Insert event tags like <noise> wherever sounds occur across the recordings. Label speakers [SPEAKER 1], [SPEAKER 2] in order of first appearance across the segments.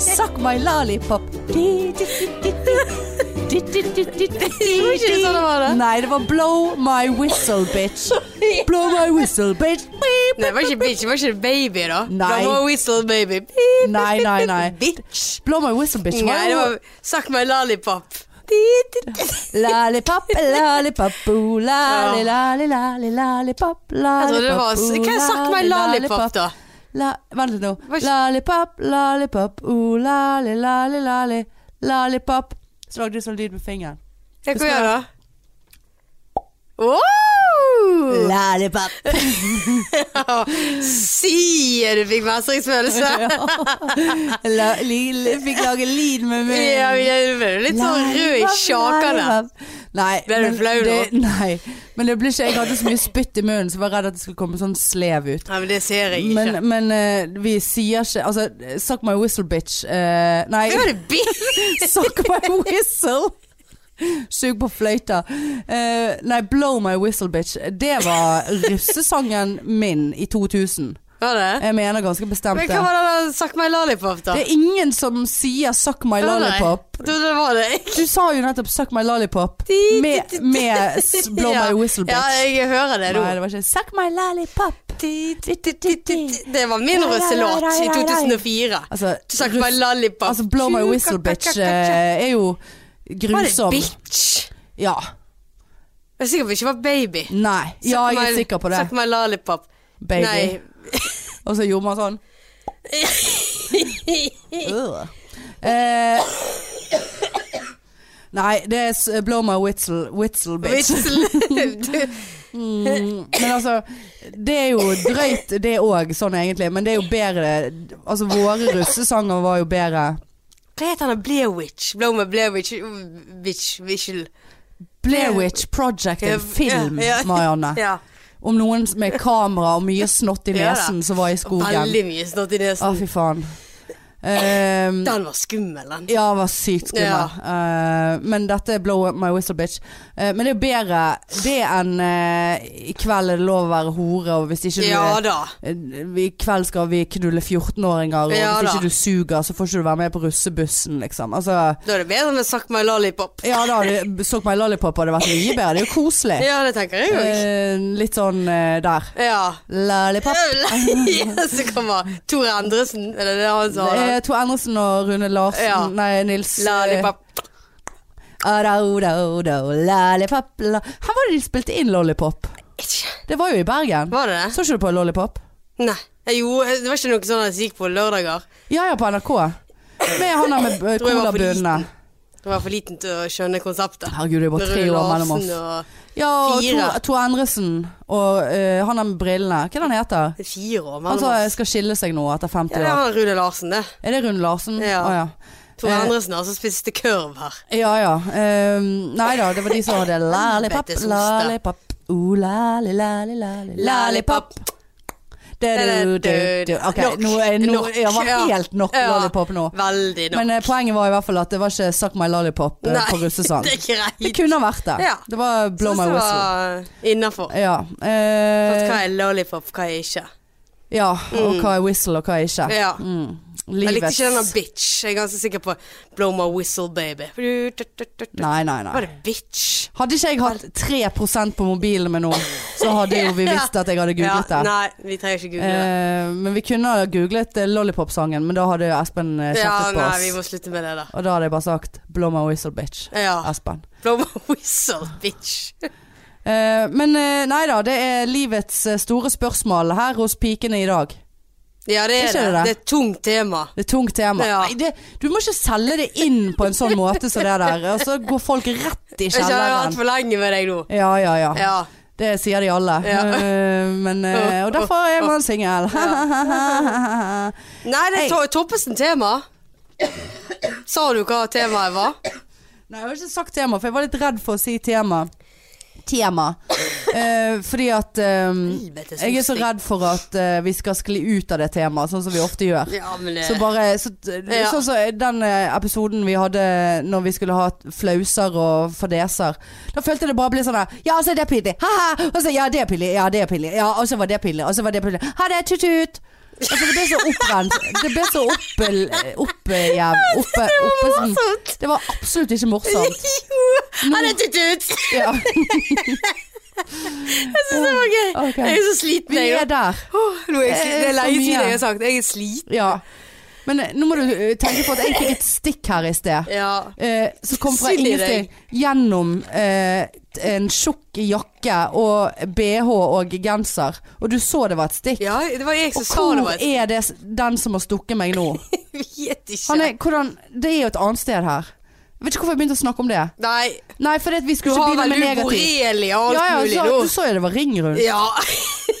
[SPEAKER 1] Suck my lollipop.
[SPEAKER 2] ikke sånn det var, da?
[SPEAKER 1] Nei, det var blow my whistle, bitch. Blow my whistle, bitch. Beep.
[SPEAKER 2] Nei, det var ikke bitch, det var ikke baby, da.
[SPEAKER 1] Nei.
[SPEAKER 2] Det var whistle baby.
[SPEAKER 1] Nei, nei, nei.
[SPEAKER 2] Bitch.
[SPEAKER 1] Blow my whistle, bitch.
[SPEAKER 2] Nei, det var Suck my lollipop.
[SPEAKER 1] Lollipop, lollipop, boo, lolli, lolli, lolli, lollipop,
[SPEAKER 2] Jeg
[SPEAKER 1] lollipop,
[SPEAKER 2] trodde det var
[SPEAKER 1] boo,
[SPEAKER 2] Hva er Suck my
[SPEAKER 1] lolli,
[SPEAKER 2] lollipop, da?
[SPEAKER 1] La, vent litt nå.
[SPEAKER 2] Hva-
[SPEAKER 1] Lollipop, lollipop, ooh, lolli, lolli, lolli, lollipop. Så lagde du sånn lyd med fingeren.
[SPEAKER 2] Hva skal jeg gjøre, da? Wow!
[SPEAKER 1] Lollipop.
[SPEAKER 2] Sier du fikk mestringsfølelse?
[SPEAKER 1] <laughs> La, lille, fikk lage lid med munnen.
[SPEAKER 2] Ja, jeg ble litt sånn rød i
[SPEAKER 1] Lollipop,
[SPEAKER 2] sjakene.
[SPEAKER 1] lollipop. Nei.
[SPEAKER 2] Ble du
[SPEAKER 1] men
[SPEAKER 2] flau nå?
[SPEAKER 1] det- Nei. Men det ble ikke, jeg hadde så mye spytt i munnen, så jeg var redd at det skulle komme sånn slev ut.
[SPEAKER 2] Nei, men det ser jeg ikke.
[SPEAKER 1] Men, men eh, vi sier ikke Altså, suck my whistle, bitch. Eh, nei,
[SPEAKER 2] Hva er det bi-
[SPEAKER 1] <laughs> suck my whistle! Sug på fløyta. Eh, nei, blow my whistle, bitch. Det var russesangen min i 2000.
[SPEAKER 2] Var det?
[SPEAKER 1] Jeg mener ganske bestemt
[SPEAKER 2] Men
[SPEAKER 1] det.
[SPEAKER 2] hva var det der Suck my lollipop, da?
[SPEAKER 1] Det er ingen som sier suck my
[SPEAKER 2] Hva var det?
[SPEAKER 1] lollipop.
[SPEAKER 2] Jeg trodde det var
[SPEAKER 1] <laughs>
[SPEAKER 2] det.
[SPEAKER 1] Du sa jo nettopp suck my lollipop med, med s- blow
[SPEAKER 2] <laughs> Ja.
[SPEAKER 1] my whistle,
[SPEAKER 2] Ja,
[SPEAKER 1] bitch.
[SPEAKER 2] jeg hører det nå.
[SPEAKER 1] Nei, det var ikke suck my lollipop.
[SPEAKER 2] Det var min russelåt i 2004.
[SPEAKER 1] Altså,
[SPEAKER 2] Suck my lollipop.
[SPEAKER 1] Altså Blow My Whistle Bitch eh, er jo
[SPEAKER 2] Var det
[SPEAKER 1] grusom.
[SPEAKER 2] bitch?
[SPEAKER 1] Ja.
[SPEAKER 2] Jeg er sikker på at det ikke var baby.
[SPEAKER 1] Nei. Ja,
[SPEAKER 2] Suck
[SPEAKER 1] jeg er
[SPEAKER 2] my-
[SPEAKER 1] sikker på det.
[SPEAKER 2] Suck my lollipop.
[SPEAKER 1] Baby.
[SPEAKER 2] Nei.
[SPEAKER 1] Og så gjorde man sånn. Øh. Eh, nei, det er s- Blow My Whistle, whistle Bitch. <laughs>
[SPEAKER 2] Whistle. <laughs> Du-
[SPEAKER 1] Mm, men altså, det er jo drøyt det òg, sånn egentlig. Men det er jo bedre Altså, våre russesanger var jo bedre.
[SPEAKER 2] Hva heter han? Blair Witch? Blow my Blair Witch. Witch. Whistle.
[SPEAKER 1] Blairwitch Project, en film,
[SPEAKER 2] Ja, ja.
[SPEAKER 1] Marianne.
[SPEAKER 2] Ja.
[SPEAKER 1] Om noen med kamera og mye snott i
[SPEAKER 2] Ja da.
[SPEAKER 1] nesen som var i skogen.
[SPEAKER 2] Veldig mye snart i
[SPEAKER 1] Å,
[SPEAKER 2] nesen.
[SPEAKER 1] fy faen. Ehm,
[SPEAKER 2] Den var skummel, den.
[SPEAKER 1] ja, det var sykt skummel.
[SPEAKER 2] Ja.
[SPEAKER 1] Eh, men dette er blow up my whistle, bitch. Eh, men det er jo bedre det enn eh, i kveld er det lov å være hore, og hvis ikke du
[SPEAKER 2] Ja da.
[SPEAKER 1] eh, I kveld skal vi knulle 14-åringer, og
[SPEAKER 2] Ja
[SPEAKER 1] hvis
[SPEAKER 2] da.
[SPEAKER 1] ikke du suger, så får ikke du være med på russebussen, liksom. Altså
[SPEAKER 2] Da er det bedre med Suck my lollipop.
[SPEAKER 1] Ja da, det- Suck My Lollipop hadde vært mye bedre. Det er jo koselig.
[SPEAKER 2] Ja, det tenker jeg òg.
[SPEAKER 1] Eh, litt sånn eh, der.
[SPEAKER 2] Ja.
[SPEAKER 1] Lollipop.
[SPEAKER 2] <laughs> Ja, Så kommer Tore Endresen, er det det han sa?
[SPEAKER 1] Det er Eh, Tor Andersen og Rune Larsen
[SPEAKER 2] Ja.
[SPEAKER 1] Nei, Nils eh,
[SPEAKER 2] Lollipop.
[SPEAKER 1] Araurodo, lollipop la. Her var det de spilte inn Lollipop. Det var jo i Bergen.
[SPEAKER 2] Var det det?
[SPEAKER 1] Så ikke du på Lollipop?
[SPEAKER 2] Nei. Eh, Jo, det var ikke noe sånn at jeg gikk på lørdager.
[SPEAKER 1] Ja ja, på NRK. Med han der med eh,
[SPEAKER 2] Tror jeg var for
[SPEAKER 1] colabunnene.
[SPEAKER 2] Jeg var for liten til å skjønne konseptet.
[SPEAKER 1] Herregud, det er bare tre
[SPEAKER 2] Rune
[SPEAKER 1] år mellom
[SPEAKER 2] Larsen
[SPEAKER 1] oss.
[SPEAKER 2] og
[SPEAKER 1] Ja, og
[SPEAKER 2] Fire.
[SPEAKER 1] Tor- Tor Endresen og eh, han der med brillene. Hva er det han heter?
[SPEAKER 2] det er Fire år
[SPEAKER 1] Han
[SPEAKER 2] mellom
[SPEAKER 1] som
[SPEAKER 2] oss.
[SPEAKER 1] skal skille seg nå etter
[SPEAKER 2] Ja, det
[SPEAKER 1] 50
[SPEAKER 2] er
[SPEAKER 1] år.
[SPEAKER 2] han Rune Larsen, det.
[SPEAKER 1] Er det Rune Larsen? Å
[SPEAKER 2] Ja.
[SPEAKER 1] ja.
[SPEAKER 2] Tore
[SPEAKER 1] Eh.
[SPEAKER 2] Endresen altså spiste kurv her.
[SPEAKER 1] Ja ja. Um, nei da, det var de som
[SPEAKER 2] <laughs>
[SPEAKER 1] hadde lollipop,
[SPEAKER 2] Helvetes oste.
[SPEAKER 1] lollipop, oh, lali, lali, lali, lollipop. Du, du, du, du. Ok,
[SPEAKER 2] Nok.
[SPEAKER 1] nå er nå,
[SPEAKER 2] Nok,
[SPEAKER 1] jeg var
[SPEAKER 2] ja.
[SPEAKER 1] helt nok
[SPEAKER 2] Ja.
[SPEAKER 1] lollipop nå.
[SPEAKER 2] Veldig nok.
[SPEAKER 1] Men eh, poenget var i hvert fall at det var ikke Suck my lollipop eh,
[SPEAKER 2] Nei,
[SPEAKER 1] på russesang.
[SPEAKER 2] <laughs> det er greit.
[SPEAKER 1] Det kunne ha vært det.
[SPEAKER 2] Ja.
[SPEAKER 1] Det var blow my whistle.
[SPEAKER 2] whistle. Innafor.
[SPEAKER 1] Ja. eh,
[SPEAKER 2] Hva er lollipop, hva er ikke?
[SPEAKER 1] ja. Og hva er whistle, og hva er ikke.
[SPEAKER 2] Mm. Ja.
[SPEAKER 1] Mm.
[SPEAKER 2] Jeg likte
[SPEAKER 1] Livets
[SPEAKER 2] ikke denne bitch. Jeg er ganske sikker på blow my whistle, baby.
[SPEAKER 1] Nei, nei, nei.
[SPEAKER 2] Var det bitch?
[SPEAKER 1] Hadde ikke jeg hatt 3 på mobilen min nå, så hadde jo
[SPEAKER 2] <laughs>
[SPEAKER 1] vi visst at jeg hadde googlet
[SPEAKER 2] Ja,
[SPEAKER 1] det.
[SPEAKER 2] nei, vi trenger ikke google det.
[SPEAKER 1] Eh, men vi kunne ha googlet eh, Lollipop-sangen, men da hadde Espen eh,
[SPEAKER 2] Ja,
[SPEAKER 1] kjeftet på
[SPEAKER 2] nei, vi
[SPEAKER 1] oss.
[SPEAKER 2] må slutte med det, da.
[SPEAKER 1] Og da hadde jeg bare sagt 'blow my whistle, bitch',
[SPEAKER 2] Ja.
[SPEAKER 1] Espen.
[SPEAKER 2] Blow my whistle, bitch.
[SPEAKER 1] Eh, men eh, nei da, det er livets eh, store spørsmål her hos pikene i dag.
[SPEAKER 2] Ja, det er
[SPEAKER 1] Ikke
[SPEAKER 2] det.
[SPEAKER 1] det?
[SPEAKER 2] Det er et tungt tema.
[SPEAKER 1] Det er et tungt tema.
[SPEAKER 2] Ja.
[SPEAKER 1] Nei, det, du må ikke selge det inn på en sånn måte som det der, og så går folk rett i
[SPEAKER 2] Jeg kjenner jeg har hatt
[SPEAKER 1] kjelleren.
[SPEAKER 2] for lenge med deg nå.
[SPEAKER 1] Ja, ja, ja.
[SPEAKER 2] Ja.
[SPEAKER 1] Det sier de alle.
[SPEAKER 2] Ja.
[SPEAKER 1] Eh, men, eh, og derfor er man singel. <laughs>
[SPEAKER 2] Nei, det er to Toppesen tema. Sa du hva temaet var?
[SPEAKER 1] Nei, jeg har ikke sagt tema, for jeg var litt redd for å si tema. Tema. Eh, fordi at eh,
[SPEAKER 2] Helvete,
[SPEAKER 1] Jeg er så
[SPEAKER 2] stygg.
[SPEAKER 1] redd for at eh, vi skal skli ut av det temaet, sånn som vi ofte gjør.
[SPEAKER 2] Ja, men det
[SPEAKER 1] Så bare, så,
[SPEAKER 2] Ja.
[SPEAKER 1] Sånn som den eh, episoden vi hadde når vi skulle ha flauser og fadeser. Da følte jeg det bare ble sånn der Ja, altså, det er pinlig. Ha-ha. Og så, ja, det er pinlig. Ja, det er pinlig. Ja, og så var det pinlig. Og så var det pinlig. Ha det. Tut-tut. Altså, det ble så opprent. Det ble så oppel...
[SPEAKER 2] <laughs>
[SPEAKER 1] Oppjev... Oppe... Oppe... sånn.
[SPEAKER 2] Morsomt!
[SPEAKER 1] Det var absolutt ikke morsomt.
[SPEAKER 2] <laughs> Jo! Han er tutut!
[SPEAKER 1] Ja.
[SPEAKER 2] Jeg syns det var gøy.
[SPEAKER 1] Ok.
[SPEAKER 2] Jeg Mm. er så sliten,
[SPEAKER 1] Vi
[SPEAKER 2] jeg.
[SPEAKER 1] er
[SPEAKER 2] nå.
[SPEAKER 1] der.
[SPEAKER 2] Åh, Nå er jeg sliten. Det er
[SPEAKER 1] Eh,
[SPEAKER 2] lenge
[SPEAKER 1] for mye.
[SPEAKER 2] siden jeg har sagt jeg er sliten.
[SPEAKER 1] Ja. Men eh, nå må du eh, tenke på at jeg fikk et stikk her i sted.
[SPEAKER 2] Ja.
[SPEAKER 1] Eh, som kom fra
[SPEAKER 2] Synd i
[SPEAKER 1] ingenting. Gjennom eh, en tjukk jakke og bh og genser. Og du så det var et stikk.
[SPEAKER 2] ja, det var jeg som
[SPEAKER 1] Og
[SPEAKER 2] sa det
[SPEAKER 1] hvor
[SPEAKER 2] <laughs> var et
[SPEAKER 1] er det, s- den som har stukket meg
[SPEAKER 2] <laughs>
[SPEAKER 1] nå?
[SPEAKER 2] Vet ikke.
[SPEAKER 1] Han er, hvordan, det er jo et annet sted her. Vet ikke hvorfor jeg begynte å snakke om det.
[SPEAKER 2] Nei,
[SPEAKER 1] Nei, for det, at vi
[SPEAKER 2] du
[SPEAKER 1] skulle ikke
[SPEAKER 2] har
[SPEAKER 1] begynne
[SPEAKER 2] vel
[SPEAKER 1] med negativt.
[SPEAKER 2] uborrelia og alt
[SPEAKER 1] Ja, ja,
[SPEAKER 2] mulig
[SPEAKER 1] så, <laughs>
[SPEAKER 2] nå.
[SPEAKER 1] du så jo det var ring rundt. <laughs>
[SPEAKER 2] Ja.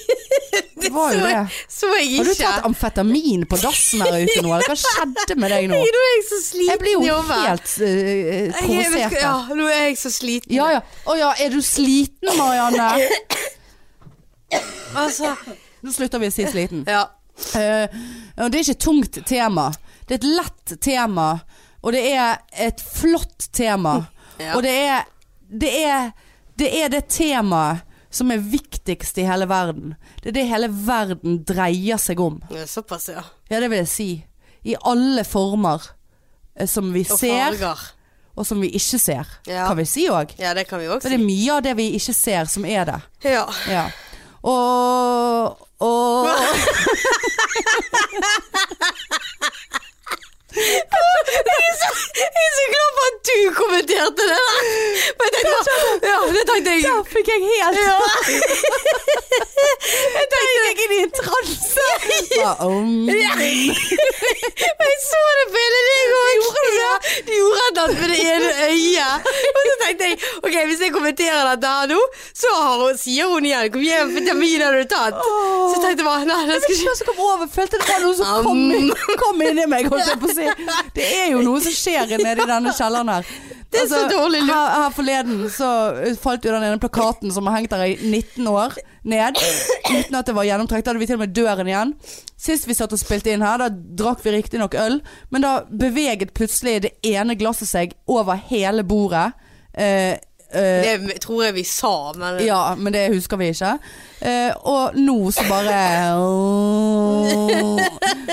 [SPEAKER 1] Det var jo
[SPEAKER 2] så,
[SPEAKER 1] det.
[SPEAKER 2] så jeg ikke.
[SPEAKER 1] Har du tatt amfetamin på dassen her ute nå? Eller hva skjedde med deg nå?
[SPEAKER 2] Nei, Nå er jeg så sliten
[SPEAKER 1] Jeg blir jo
[SPEAKER 2] i hodet.
[SPEAKER 1] helt eh,
[SPEAKER 2] Jeg- jeg vet
[SPEAKER 1] provosert.
[SPEAKER 2] ikke-
[SPEAKER 1] her.
[SPEAKER 2] Ja, nå er jeg så sliten.
[SPEAKER 1] Ja ja. Å ja, er du sliten Marianne?
[SPEAKER 2] Altså,
[SPEAKER 1] Nå slutter vi å si sliten.
[SPEAKER 2] ja.
[SPEAKER 1] Eh, og det er ikke et tungt tema. Det er et lett tema. Og det er et flott tema.
[SPEAKER 2] Ja.
[SPEAKER 1] Og det er det, er det er det temaet som er viktigst i hele verden. Det er det hele verden dreier seg om.
[SPEAKER 2] Ja, Såpass, ja.
[SPEAKER 1] Ja, det vil jeg si. I alle former eh, som vi
[SPEAKER 2] Og
[SPEAKER 1] ser,
[SPEAKER 2] farger.
[SPEAKER 1] og som vi ikke ser.
[SPEAKER 2] Ja.
[SPEAKER 1] Kan vi si òg.
[SPEAKER 2] Ja, det kan vi også
[SPEAKER 1] Det
[SPEAKER 2] si.
[SPEAKER 1] er mye av det vi ikke ser, som er det.
[SPEAKER 2] Ja.
[SPEAKER 1] Ja. Og,
[SPEAKER 2] <laughs>
[SPEAKER 1] og
[SPEAKER 2] Jeg er så glad for at du kommenterte det der. Men jeg tenkte, ja, det tenkte jeg.
[SPEAKER 1] fikk jeg helt <laughs>
[SPEAKER 2] Ja.
[SPEAKER 1] Jeg tenkte jeg inn i en transe.
[SPEAKER 2] Ja. Jeg så det på hele deg òg. Ja, du gjorde et eller annet med det ene øyet. Og så tenkte jeg ok, hvis jeg kommenterer dette her nå, så har hun, sier hun igjen hvor mye vitamin har du tatt? Så jeg tenkte bare nei, det skal ikke
[SPEAKER 1] som kom over, følte det var noe som kom, inn- kom inni meg, holdt jeg på å si.
[SPEAKER 2] <laughs>
[SPEAKER 1] Det er jo noe som skjer nede i denne kjelleren her. Altså,
[SPEAKER 2] Det er så dårlig lukt.
[SPEAKER 1] Her, her forleden så falt jo den ene plakaten som har hengt der i 19 år, ned. Uten at det var gjennomtrekt. Da hadde vi til og med døren igjen. Sist vi satt og spilte inn her, da drakk vi riktignok øl, men da beveget plutselig det ene glasset seg over hele bordet. Eh, eh,
[SPEAKER 2] Det tror jeg vi sa, men
[SPEAKER 1] Ja, men det husker vi ikke. Eh, og nå så bare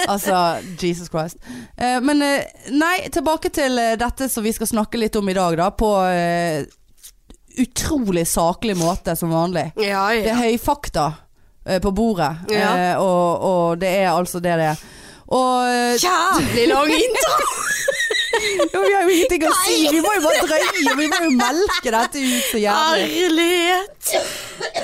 [SPEAKER 1] Altså, Jesus Christ. Eh, men eh, nei, tilbake til eh, dette som vi skal snakke litt om i dag, da. På eh, utrolig saklig måte, som vanlig.
[SPEAKER 2] ja,
[SPEAKER 1] Det
[SPEAKER 2] ja.
[SPEAKER 1] er høyfakta eh, på bordet,
[SPEAKER 2] Ja.
[SPEAKER 1] eh, og, og det er altså det det er. Og eh,
[SPEAKER 2] Jævlig lang intro!
[SPEAKER 1] jo, vi har jo ingenting å si! Vi må jo bare drøye, vi må jo melke dette ut så jævlig.
[SPEAKER 2] Ærlighet!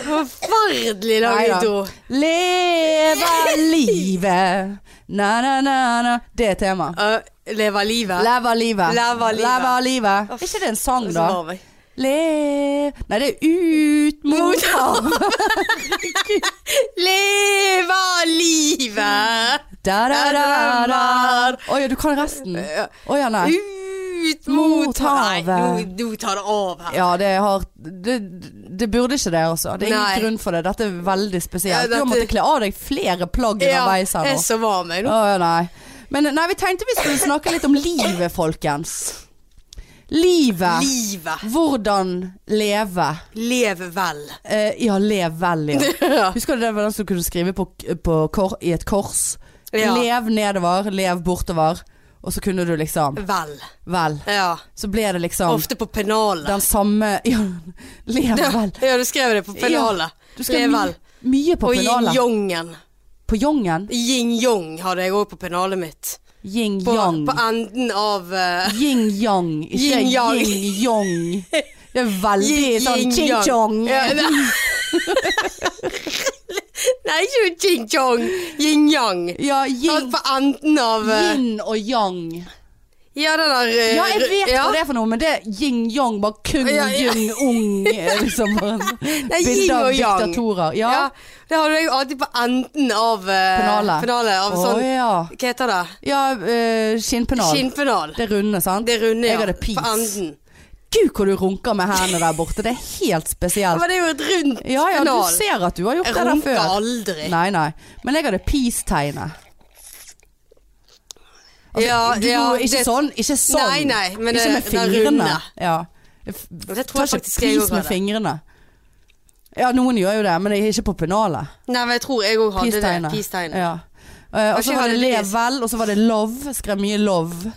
[SPEAKER 2] Forferdelig lang
[SPEAKER 1] Neida.
[SPEAKER 2] intro.
[SPEAKER 1] Leve livet. Na, na, na, na. Det er tema.
[SPEAKER 2] Uh, Leve livet.
[SPEAKER 1] Leve livet.
[SPEAKER 2] Leve livet.
[SPEAKER 1] Leve livet. Er ikke det en sang,
[SPEAKER 2] Og så
[SPEAKER 1] da?
[SPEAKER 2] var vi-
[SPEAKER 1] Le... Nei, det er ut mot havet.
[SPEAKER 2] Leve livet!
[SPEAKER 1] <laughs> Da, da, da, da. Å ja, du kan resten? Å ja, nei.
[SPEAKER 2] Ut
[SPEAKER 1] Mot
[SPEAKER 2] mot havet. Nei,
[SPEAKER 1] havet.
[SPEAKER 2] nå, nå tar det av her.
[SPEAKER 1] Ja, det har Det, det burde ikke det, altså. Det er
[SPEAKER 2] Nei.
[SPEAKER 1] ingen grunn for det. Dette er veldig
[SPEAKER 2] Ja,
[SPEAKER 1] spesielt. Du
[SPEAKER 2] dette-
[SPEAKER 1] har måttet kle av deg flere plagg underveis her
[SPEAKER 2] jeg er
[SPEAKER 1] nå.
[SPEAKER 2] så varm jeg nå.
[SPEAKER 1] Å ja, nei. Men nei, vi tenkte vi skulle snakke litt om livet, folkens. Livet.
[SPEAKER 2] Livet.
[SPEAKER 1] Hvordan leve.
[SPEAKER 2] Lev vel.
[SPEAKER 1] Eh, ja, lev vel, ja.
[SPEAKER 2] <laughs> Ja.
[SPEAKER 1] Husker du det var den som du kunne skrive på, på kor, i et kors?
[SPEAKER 2] Ja.
[SPEAKER 1] Lev nedover, lev bortover. Og så kunne du liksom
[SPEAKER 2] Vel.
[SPEAKER 1] Vel.
[SPEAKER 2] Ja.
[SPEAKER 1] Så ble det liksom
[SPEAKER 2] Ofte på pennalet.
[SPEAKER 1] den samme <laughs> Ja, lev vel.
[SPEAKER 2] Ja, du skrev det på pennalet.
[SPEAKER 1] Du
[SPEAKER 2] Lev
[SPEAKER 1] skrev my,
[SPEAKER 2] vel.
[SPEAKER 1] mye på
[SPEAKER 2] Og
[SPEAKER 1] pennalet.
[SPEAKER 2] yin-yongen.
[SPEAKER 1] På yongen?
[SPEAKER 2] Yin-yong hadde jeg òg på pennalet mitt. På,
[SPEAKER 1] Yin-yang.
[SPEAKER 2] på enden av eh,
[SPEAKER 1] Yin-yang, ikke
[SPEAKER 2] Yin-yang.
[SPEAKER 1] yin-yong. Det er veldig
[SPEAKER 2] Yin-
[SPEAKER 1] sånn
[SPEAKER 2] yin-yang.
[SPEAKER 1] ching-chong.
[SPEAKER 2] Ja,
[SPEAKER 1] <laughs>
[SPEAKER 2] nei. Nei, ikke ching-chong. Yin-yang.
[SPEAKER 1] Ja,
[SPEAKER 2] Alt
[SPEAKER 1] yin,
[SPEAKER 2] på enden av eh,
[SPEAKER 1] yin og yang.
[SPEAKER 2] Ja, den der eh,
[SPEAKER 1] Ja, jeg vet
[SPEAKER 2] ja.
[SPEAKER 1] hva det er for noe, men det er yin-yang, bare kung,
[SPEAKER 2] Ja, ja.
[SPEAKER 1] yung, ung. eh, Liksom
[SPEAKER 2] <laughs>
[SPEAKER 1] bare sånn.
[SPEAKER 2] er yin
[SPEAKER 1] bilder av
[SPEAKER 2] og yang.
[SPEAKER 1] diktatorer. Ja,
[SPEAKER 2] Ja. Det hadde jeg jo alltid på enden av uh,
[SPEAKER 1] Pennalet. Å,
[SPEAKER 2] Av sånn
[SPEAKER 1] ja.
[SPEAKER 2] Hva heter det?
[SPEAKER 1] ja eh, skinnpennal.
[SPEAKER 2] Skinnpennal.
[SPEAKER 1] Det er runde, sant?
[SPEAKER 2] Det runde,
[SPEAKER 1] Jeg
[SPEAKER 2] ja.
[SPEAKER 1] hadde pis.
[SPEAKER 2] På enden.
[SPEAKER 1] Gud, hvor du runker med hendene der borte. Det er helt
[SPEAKER 2] Ja,
[SPEAKER 1] spesielt.
[SPEAKER 2] Men det er jo et rundt
[SPEAKER 1] Ja, ja, du
[SPEAKER 2] pennal.
[SPEAKER 1] ser at du har gjort
[SPEAKER 2] Jeg
[SPEAKER 1] det der
[SPEAKER 2] runker
[SPEAKER 1] før.
[SPEAKER 2] aldri.
[SPEAKER 1] Nei, nei. Men jeg hadde peace-tegnet.
[SPEAKER 2] ja,
[SPEAKER 1] Altså, Du,
[SPEAKER 2] ja,
[SPEAKER 1] ikke
[SPEAKER 2] det-
[SPEAKER 1] sånn. Ikke sånn.
[SPEAKER 2] Nei, nei, men
[SPEAKER 1] ikke
[SPEAKER 2] det-
[SPEAKER 1] med
[SPEAKER 2] det er
[SPEAKER 1] fingrene.
[SPEAKER 2] runde.
[SPEAKER 1] Ja. Jeg f-
[SPEAKER 2] Det tror jeg
[SPEAKER 1] tar ikke
[SPEAKER 2] faktisk jeg
[SPEAKER 1] pris
[SPEAKER 2] gjorde
[SPEAKER 1] med
[SPEAKER 2] det.
[SPEAKER 1] fingrene. Ja, noen gjør jo det, men det er ikke på pennalet.
[SPEAKER 2] Nei, men jeg tror jeg òg hadde det.
[SPEAKER 1] Peace-tegnet.
[SPEAKER 2] Peace-tegnet.
[SPEAKER 1] Ja. Eh, og så
[SPEAKER 2] Kanskje
[SPEAKER 1] var det
[SPEAKER 2] jeg hadde
[SPEAKER 1] Level, og så var det Love. Skrev mye Love.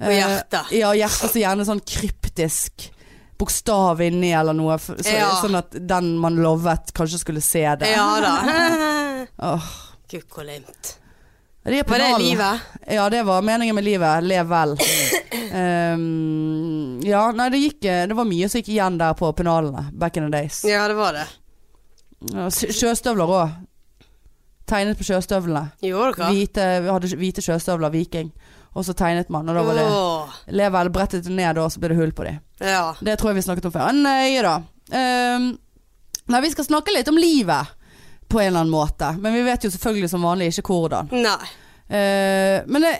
[SPEAKER 2] Og hjerter.
[SPEAKER 1] Eh, ja, hjerte, så gjerne sånn kryptisk bokstav inni eller noe. f- Så,
[SPEAKER 2] Ja.
[SPEAKER 1] Sånn at den man lovet, kanskje skulle se det.
[SPEAKER 2] Ja da. <laughs>
[SPEAKER 1] Åh.
[SPEAKER 2] Gud, hvor limt.
[SPEAKER 1] De er på
[SPEAKER 2] Var det
[SPEAKER 1] nallen.
[SPEAKER 2] livet?
[SPEAKER 1] Ja, det var meningen med livet. Lev vel. Ehm, ja, nei, det gikk eh, Det var mye som gikk igjen der på pennalene back in the days.
[SPEAKER 2] Ja, det var det.
[SPEAKER 1] Ja, sjø- Sjøstøvler òg. Tegnet på sjøstøvlene.
[SPEAKER 2] Gjorde dere?
[SPEAKER 1] Hvite, vi hadde sj- hvite sjøstøvler, viking. Og så tegnet man, og da var det Lev vel, brettet det ned, og så ble det hull på de.
[SPEAKER 2] Ja.
[SPEAKER 1] Det tror jeg vi snakket om før. Ah, Nøye, da. Ehm, nei, vi skal snakke litt om livet på en eller annen måte. Men vi vet jo selvfølgelig som vanlig ikke hvordan.
[SPEAKER 2] Nei.
[SPEAKER 1] Eh, men det,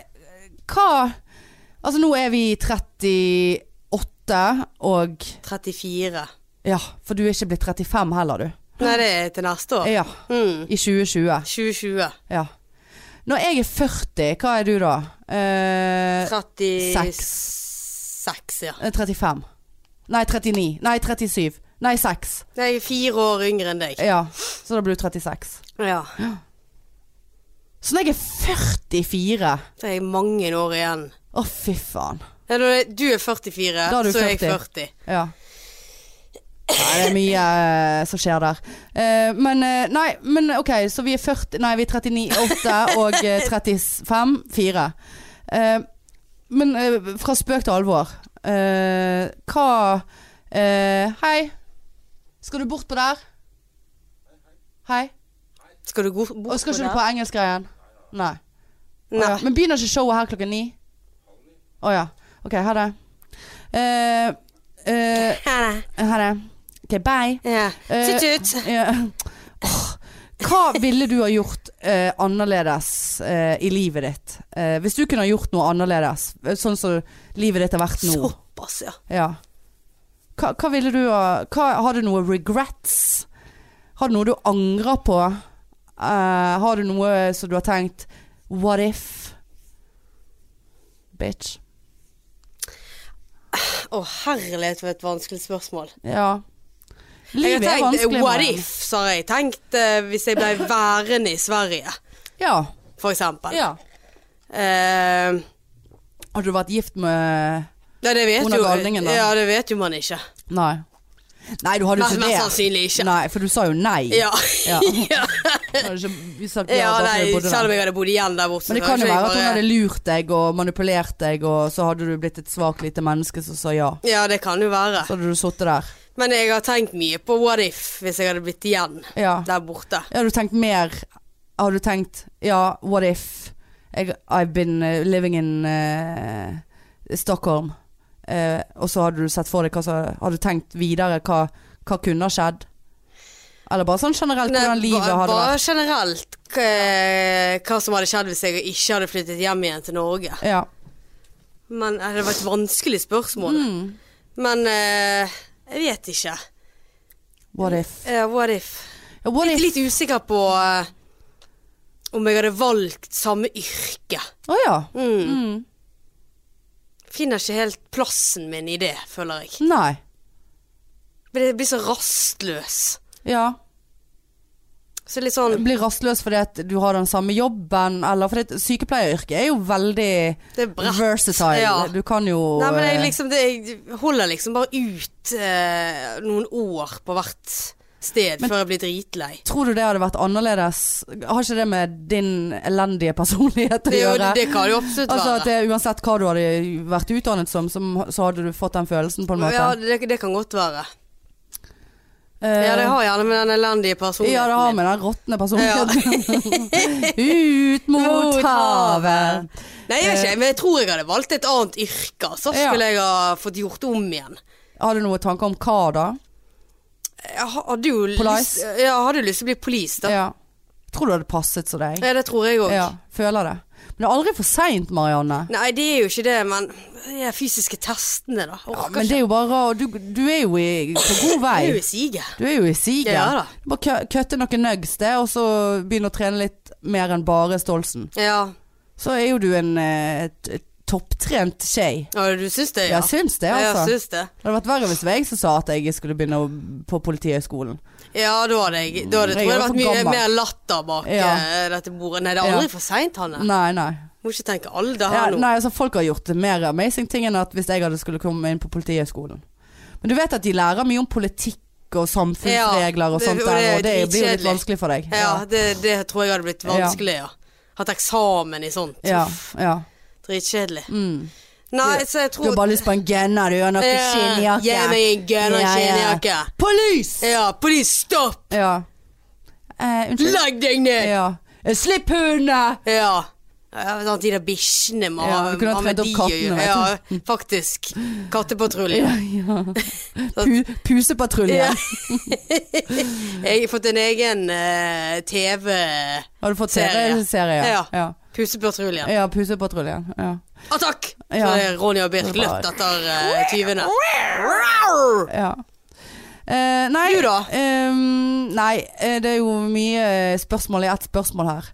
[SPEAKER 1] hva Altså nå er vi 38 og
[SPEAKER 2] 34.
[SPEAKER 1] Ja, for du er ikke blitt 35 heller, du.
[SPEAKER 2] Nei, det er til neste år.
[SPEAKER 1] Ja.
[SPEAKER 2] Mm.
[SPEAKER 1] I 2020.
[SPEAKER 2] 2020.
[SPEAKER 1] Ja. Når jeg er 40, hva er du da? Eh,
[SPEAKER 2] 36, ja.
[SPEAKER 1] 35. Nei, 39. Nei, 37. Nei, 6.
[SPEAKER 2] Jeg er fire år yngre enn deg.
[SPEAKER 1] Ja, så da blir du 36.
[SPEAKER 2] Ja.
[SPEAKER 1] Så når jeg er 44
[SPEAKER 2] Så er jeg mange år igjen.
[SPEAKER 1] Å, fy faen.
[SPEAKER 2] Ja, når det- Du er 44,
[SPEAKER 1] Da er du
[SPEAKER 2] så er jeg
[SPEAKER 1] 40.
[SPEAKER 2] 40.
[SPEAKER 1] Ja. Nei, det er mye eh, som skjer der. Eh, men eh, nei, men OK, så vi er 40 Nei, vi er 39, 8 og eh, 35, 4. Eh, men eh, fra spøk til alvor. Eh, hva eh, Hei. Skal du bort på der? Hei.
[SPEAKER 2] Skal du gå bort
[SPEAKER 1] Og skal
[SPEAKER 2] på
[SPEAKER 1] ikke du
[SPEAKER 2] det?
[SPEAKER 1] på engelskgreien? Nei. Å
[SPEAKER 2] Nei.
[SPEAKER 1] ja. Men begynner ikke showet her klokken ni? Å ja. OK, ha det. Eh, eh,
[SPEAKER 2] Nei,
[SPEAKER 1] ha det. OK, bye.
[SPEAKER 2] nei. Ja.
[SPEAKER 1] Eh,
[SPEAKER 2] Tut tut.
[SPEAKER 1] Ja. Åh. Hva ville du ha gjort eh, annerledes eh, i livet ditt? Eh, hvis du kunne ha gjort noe annerledes, eh, sånn som livet ditt har vært nå.
[SPEAKER 2] Såpass, ja.
[SPEAKER 1] Ja. Hva, hva ville du ha hva, Har du noe regrets? Har du noe du angrer på? Eh, har du noe som du har tenkt What if? Bitch.
[SPEAKER 2] Å herlighet, for et vanskelig spørsmål.
[SPEAKER 1] Ja.
[SPEAKER 2] Jeg
[SPEAKER 1] Livet
[SPEAKER 2] har
[SPEAKER 1] er
[SPEAKER 2] tenkt,
[SPEAKER 1] vanskelig.
[SPEAKER 2] What
[SPEAKER 1] Maren.
[SPEAKER 2] if, så har jeg tenkt eh, hvis jeg ble værende i Sverige,
[SPEAKER 1] Ja.
[SPEAKER 2] for eksempel.
[SPEAKER 1] ja.
[SPEAKER 2] Eh,
[SPEAKER 1] Har du vært gift med
[SPEAKER 2] ja, det vet
[SPEAKER 1] Under
[SPEAKER 2] jo
[SPEAKER 1] galningen, da.
[SPEAKER 2] Ja, det vet jo man ikke.
[SPEAKER 1] Nei. Nei, du hadde jo
[SPEAKER 2] Mest,
[SPEAKER 1] ikke
[SPEAKER 2] mest
[SPEAKER 1] det.
[SPEAKER 2] sannsynlig altså, ikke.
[SPEAKER 1] Nei, for du sa jo nei.
[SPEAKER 2] <laughs> Ja.
[SPEAKER 1] Ja.
[SPEAKER 2] <laughs> ja.
[SPEAKER 1] Du hadde ikke- vi sa-
[SPEAKER 2] ja
[SPEAKER 1] bare fordi
[SPEAKER 2] nei,
[SPEAKER 1] du bodde der.
[SPEAKER 2] selv om jeg hadde bodd igjen der borte.
[SPEAKER 1] Men det
[SPEAKER 2] så
[SPEAKER 1] kan jo
[SPEAKER 2] kanskje jeg
[SPEAKER 1] være at hun
[SPEAKER 2] bare-
[SPEAKER 1] hadde lurt deg og manipulert deg, og så hadde du blitt et svakt lite menneske som sa ja.
[SPEAKER 2] Ja, det kan jo være.
[SPEAKER 1] Så hadde du sittet der.
[SPEAKER 2] Men jeg har tenkt mye på what if hvis jeg hadde blitt igjen
[SPEAKER 1] Ja.
[SPEAKER 2] der borte.
[SPEAKER 1] Har du tenkt mer Har du tenkt Ja, what if jeg, I've been eh, living in eh, Stockholm. Eh, og så hadde du sett for deg hva som Har du tenkt videre hva, hva kunne ha skjedd? Eller bare sånn generelt
[SPEAKER 2] Nei,
[SPEAKER 1] hvordan livet
[SPEAKER 2] ba-
[SPEAKER 1] hadde
[SPEAKER 2] bare
[SPEAKER 1] vært?
[SPEAKER 2] eh, generelt eh, hva som hadde skjedd hvis jeg ikke hadde flyttet hjem igjen til Norge.
[SPEAKER 1] Ja.
[SPEAKER 2] Men eh, det var et vanskelig spørsmål.
[SPEAKER 1] Mm.
[SPEAKER 2] Men eh, jeg vet ikke.
[SPEAKER 1] What if?
[SPEAKER 2] Eh, what if?
[SPEAKER 1] Ja, What
[SPEAKER 2] Jeg er
[SPEAKER 1] if?
[SPEAKER 2] litt usikker på eh, om jeg hadde valgt samme yrke.
[SPEAKER 1] Å ja.
[SPEAKER 2] Mm.
[SPEAKER 1] Mm.
[SPEAKER 2] Finner ikke helt plassen min i det, føler jeg.
[SPEAKER 1] Nei.
[SPEAKER 2] Men jeg blir så rastløs.
[SPEAKER 1] Ja.
[SPEAKER 2] Så litt sånn
[SPEAKER 1] Blir rastløs fordi at du har den samme jobben, eller fordi at sykepleieryrket er jo veldig
[SPEAKER 2] Det er bratt.
[SPEAKER 1] versatile.
[SPEAKER 2] Ja.
[SPEAKER 1] Du kan jo
[SPEAKER 2] Nei, men jeg,
[SPEAKER 1] eh,
[SPEAKER 2] liksom, det, jeg holder liksom bare ut eh, noen år på hvert sted
[SPEAKER 1] Men-
[SPEAKER 2] før jeg blir dritlei.
[SPEAKER 1] Tror du det hadde vært annerledes? Har ikke det med din elendige personlighet å
[SPEAKER 2] Det, er jo-
[SPEAKER 1] gjøre?
[SPEAKER 2] det kan jo absolutt
[SPEAKER 1] altså at
[SPEAKER 2] være.
[SPEAKER 1] det, uansett hva du hadde vært utdannet som, som så hadde du fått den følelsen på en måte?
[SPEAKER 2] ja, det, det kan godt være.
[SPEAKER 1] Eh,
[SPEAKER 2] Ja, det har gjerne med den
[SPEAKER 1] ja,
[SPEAKER 2] elendige
[SPEAKER 1] det
[SPEAKER 2] personligheten
[SPEAKER 1] har
[SPEAKER 2] min.
[SPEAKER 1] med den råtne personligheten <laughs> Ut mot
[SPEAKER 2] Mot havet.
[SPEAKER 1] havet. Eh.
[SPEAKER 2] Nei, jeg vet ikke, men jeg tror jeg hadde valgt et annet yrke. Så
[SPEAKER 1] Ja.
[SPEAKER 2] skulle jeg ha fått gjort om igjen.
[SPEAKER 1] Har du noen tanker om hva da?
[SPEAKER 2] Jeg hadde jo lyst,
[SPEAKER 1] Police?
[SPEAKER 2] ja, hadde jo lyst til å bli police, da. Ja.
[SPEAKER 1] Ja. Tror du det hadde passet som deg?
[SPEAKER 2] det tror jeg òg.
[SPEAKER 1] Ja, føler det. Men det er aldri for seint, Marianne.
[SPEAKER 2] Nei, det er jo ikke det, men de her fysiske testene, da. Orker
[SPEAKER 1] Ja,
[SPEAKER 2] ikke.
[SPEAKER 1] men det er jo bare Du, du er jo i, på god
[SPEAKER 2] Det er
[SPEAKER 1] vei.
[SPEAKER 2] jo i siget.
[SPEAKER 1] Du er jo i siget.
[SPEAKER 2] Ja da.
[SPEAKER 1] Bare kø- kutte noen nugs det, og så begynne å trene litt mer enn bare Stolsen.
[SPEAKER 2] Ja.
[SPEAKER 1] Så er jo du en eh, t- topptrent skje.
[SPEAKER 2] Å, du syns det, ja?
[SPEAKER 1] Jeg syns det,
[SPEAKER 2] Ja,
[SPEAKER 1] altså.
[SPEAKER 2] jeg syns det.
[SPEAKER 1] Det hadde vært verre hvis det var jeg som sa at jeg skulle begynne å- på Politihøgskolen.
[SPEAKER 2] Ja, da hadde jeg Da hadde
[SPEAKER 1] Mm, Jeg
[SPEAKER 2] tror jeg
[SPEAKER 1] er
[SPEAKER 2] det vært
[SPEAKER 1] for
[SPEAKER 2] mye
[SPEAKER 1] gammel.
[SPEAKER 2] mer latter bak
[SPEAKER 1] Ja.
[SPEAKER 2] eh, dette bordet. Nei, det er
[SPEAKER 1] Ja.
[SPEAKER 2] aldri for seint, Hanne.
[SPEAKER 1] Nei, nei.
[SPEAKER 2] Må ikke tenke alder
[SPEAKER 1] Ja,
[SPEAKER 2] her nå.
[SPEAKER 1] nei altså, folk har gjort det mer amazing ting enn at hvis jeg hadde skulle komme inn på Politihøgskolen. Men du vet at de lærer mye om politikk og samfunnsregler og
[SPEAKER 2] Ja,
[SPEAKER 1] sånt
[SPEAKER 2] det- og det
[SPEAKER 1] der,
[SPEAKER 2] er
[SPEAKER 1] og det blir jo litt
[SPEAKER 2] dritkjedelig.
[SPEAKER 1] vanskelig for deg.
[SPEAKER 2] Ja, det, det tror jeg hadde blitt vanskelig, ja. Hatt eksamen i sånt.
[SPEAKER 1] Ja, ja.
[SPEAKER 2] Dritkjedelig.
[SPEAKER 1] Mm.
[SPEAKER 2] Nei, så jeg
[SPEAKER 1] Du har
[SPEAKER 2] tror
[SPEAKER 1] bare lyst på en genner, du har noe
[SPEAKER 2] Ja,
[SPEAKER 1] skinnjakke.
[SPEAKER 2] Gi meg en gønn
[SPEAKER 1] Ja, ja.
[SPEAKER 2] skinnjakke.
[SPEAKER 1] Police!
[SPEAKER 2] Ja, please stopp!
[SPEAKER 1] Ja. Eh, unnskyld.
[SPEAKER 2] Legg deg ned!
[SPEAKER 1] Ja. Eh, Slipp hundene! <laughs>
[SPEAKER 2] Ja. ja sant, de der bikkjene med
[SPEAKER 1] Ja, du kunne ha tredd opp
[SPEAKER 2] med de-
[SPEAKER 1] kattene, vet
[SPEAKER 2] Ja, faktisk. Kattepatrulje.
[SPEAKER 1] Ja, ja. Pu Pusepatruljen.
[SPEAKER 2] Ja. Jeg har fått en egen eh, TV
[SPEAKER 1] Har du fått
[SPEAKER 2] Serie.
[SPEAKER 1] serie? serie?
[SPEAKER 2] Ja.
[SPEAKER 1] ja.
[SPEAKER 2] Pusepatruljen.
[SPEAKER 1] Ja, Pusepatruljen. Ja.
[SPEAKER 2] Attakk!
[SPEAKER 1] Ja.
[SPEAKER 2] Ah, Så det er Ronja og Birk løpt etter eh, tyvene.
[SPEAKER 1] ja. Eh, nei,
[SPEAKER 2] Du da?
[SPEAKER 1] ehm, nei, eh, det er jo mye eh, spørsmål i ett spørsmål her.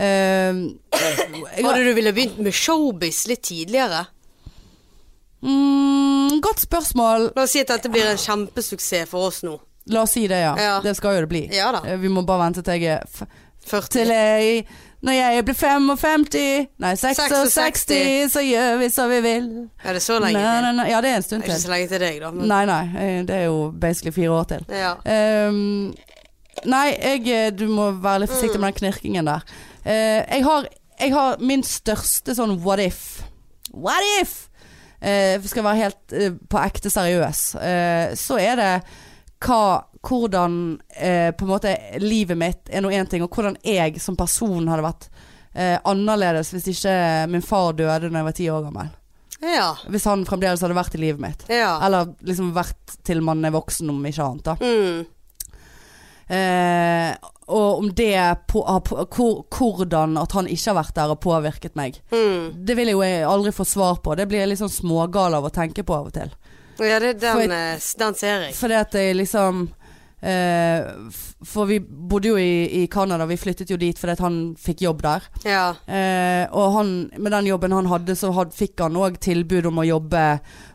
[SPEAKER 1] Ehm, jeg har-
[SPEAKER 2] Hadde du ville begynt med showbiz litt tidligere?
[SPEAKER 1] mm, godt spørsmål.
[SPEAKER 2] La oss si at dette blir en kjempesuksess for oss nå.
[SPEAKER 1] La oss si det, ja.
[SPEAKER 2] Ja.
[SPEAKER 1] Det skal jo det bli.
[SPEAKER 2] Ja da.
[SPEAKER 1] Eh, Vi må bare vente til jeg er f til
[SPEAKER 2] 40.
[SPEAKER 1] jeg, Når jeg blir 55, nei 66, så gjør vi som vi vil.
[SPEAKER 2] Er det så lenge
[SPEAKER 1] Nei,
[SPEAKER 2] til?
[SPEAKER 1] nei, nei. Ja, det er en stund
[SPEAKER 2] Det er Ikke
[SPEAKER 1] til.
[SPEAKER 2] så lenge til deg, da. Men,
[SPEAKER 1] Nei, nei. eh, Det er jo basically fire år til.
[SPEAKER 2] ja.
[SPEAKER 1] Ehm, nei, jeg, eh, du må være litt forsiktig med den knirkingen der. Eh, jeg, har, jeg har min største sånn what if. What if? Eh, for skal jeg være helt eh, på ekte seriøs, eh, så er det hva, hvordan eh, på en måte livet mitt er nå én ting, og hvordan jeg som person hadde vært eh, annerledes hvis ikke min far døde da jeg var ti år gammel.
[SPEAKER 2] ja.
[SPEAKER 1] Hvis han fremdeles hadde vært i livet mitt.
[SPEAKER 2] Ja.
[SPEAKER 1] Eller liksom vært til man er voksen, om ikke annet. da.
[SPEAKER 2] Mm.
[SPEAKER 1] Eh, og om det på, har på, hvor, Hvordan at han ikke har vært der og påvirket meg.
[SPEAKER 2] Mm.
[SPEAKER 1] Det vil jeg jo jeg aldri få svar på. Det blir jeg litt sånn smågal av å tenke på av og til.
[SPEAKER 2] ja, det er
[SPEAKER 1] For et-
[SPEAKER 2] den, eh, s- den ser jeg.
[SPEAKER 1] Fordi at jeg liksom eh, f- For vi bodde jo i, i Canada, vi flyttet jo dit fordi at han fikk jobb der.
[SPEAKER 2] Ja.
[SPEAKER 1] Eh, og han, med den jobben han hadde, så had, fikk han òg tilbud om å jobbe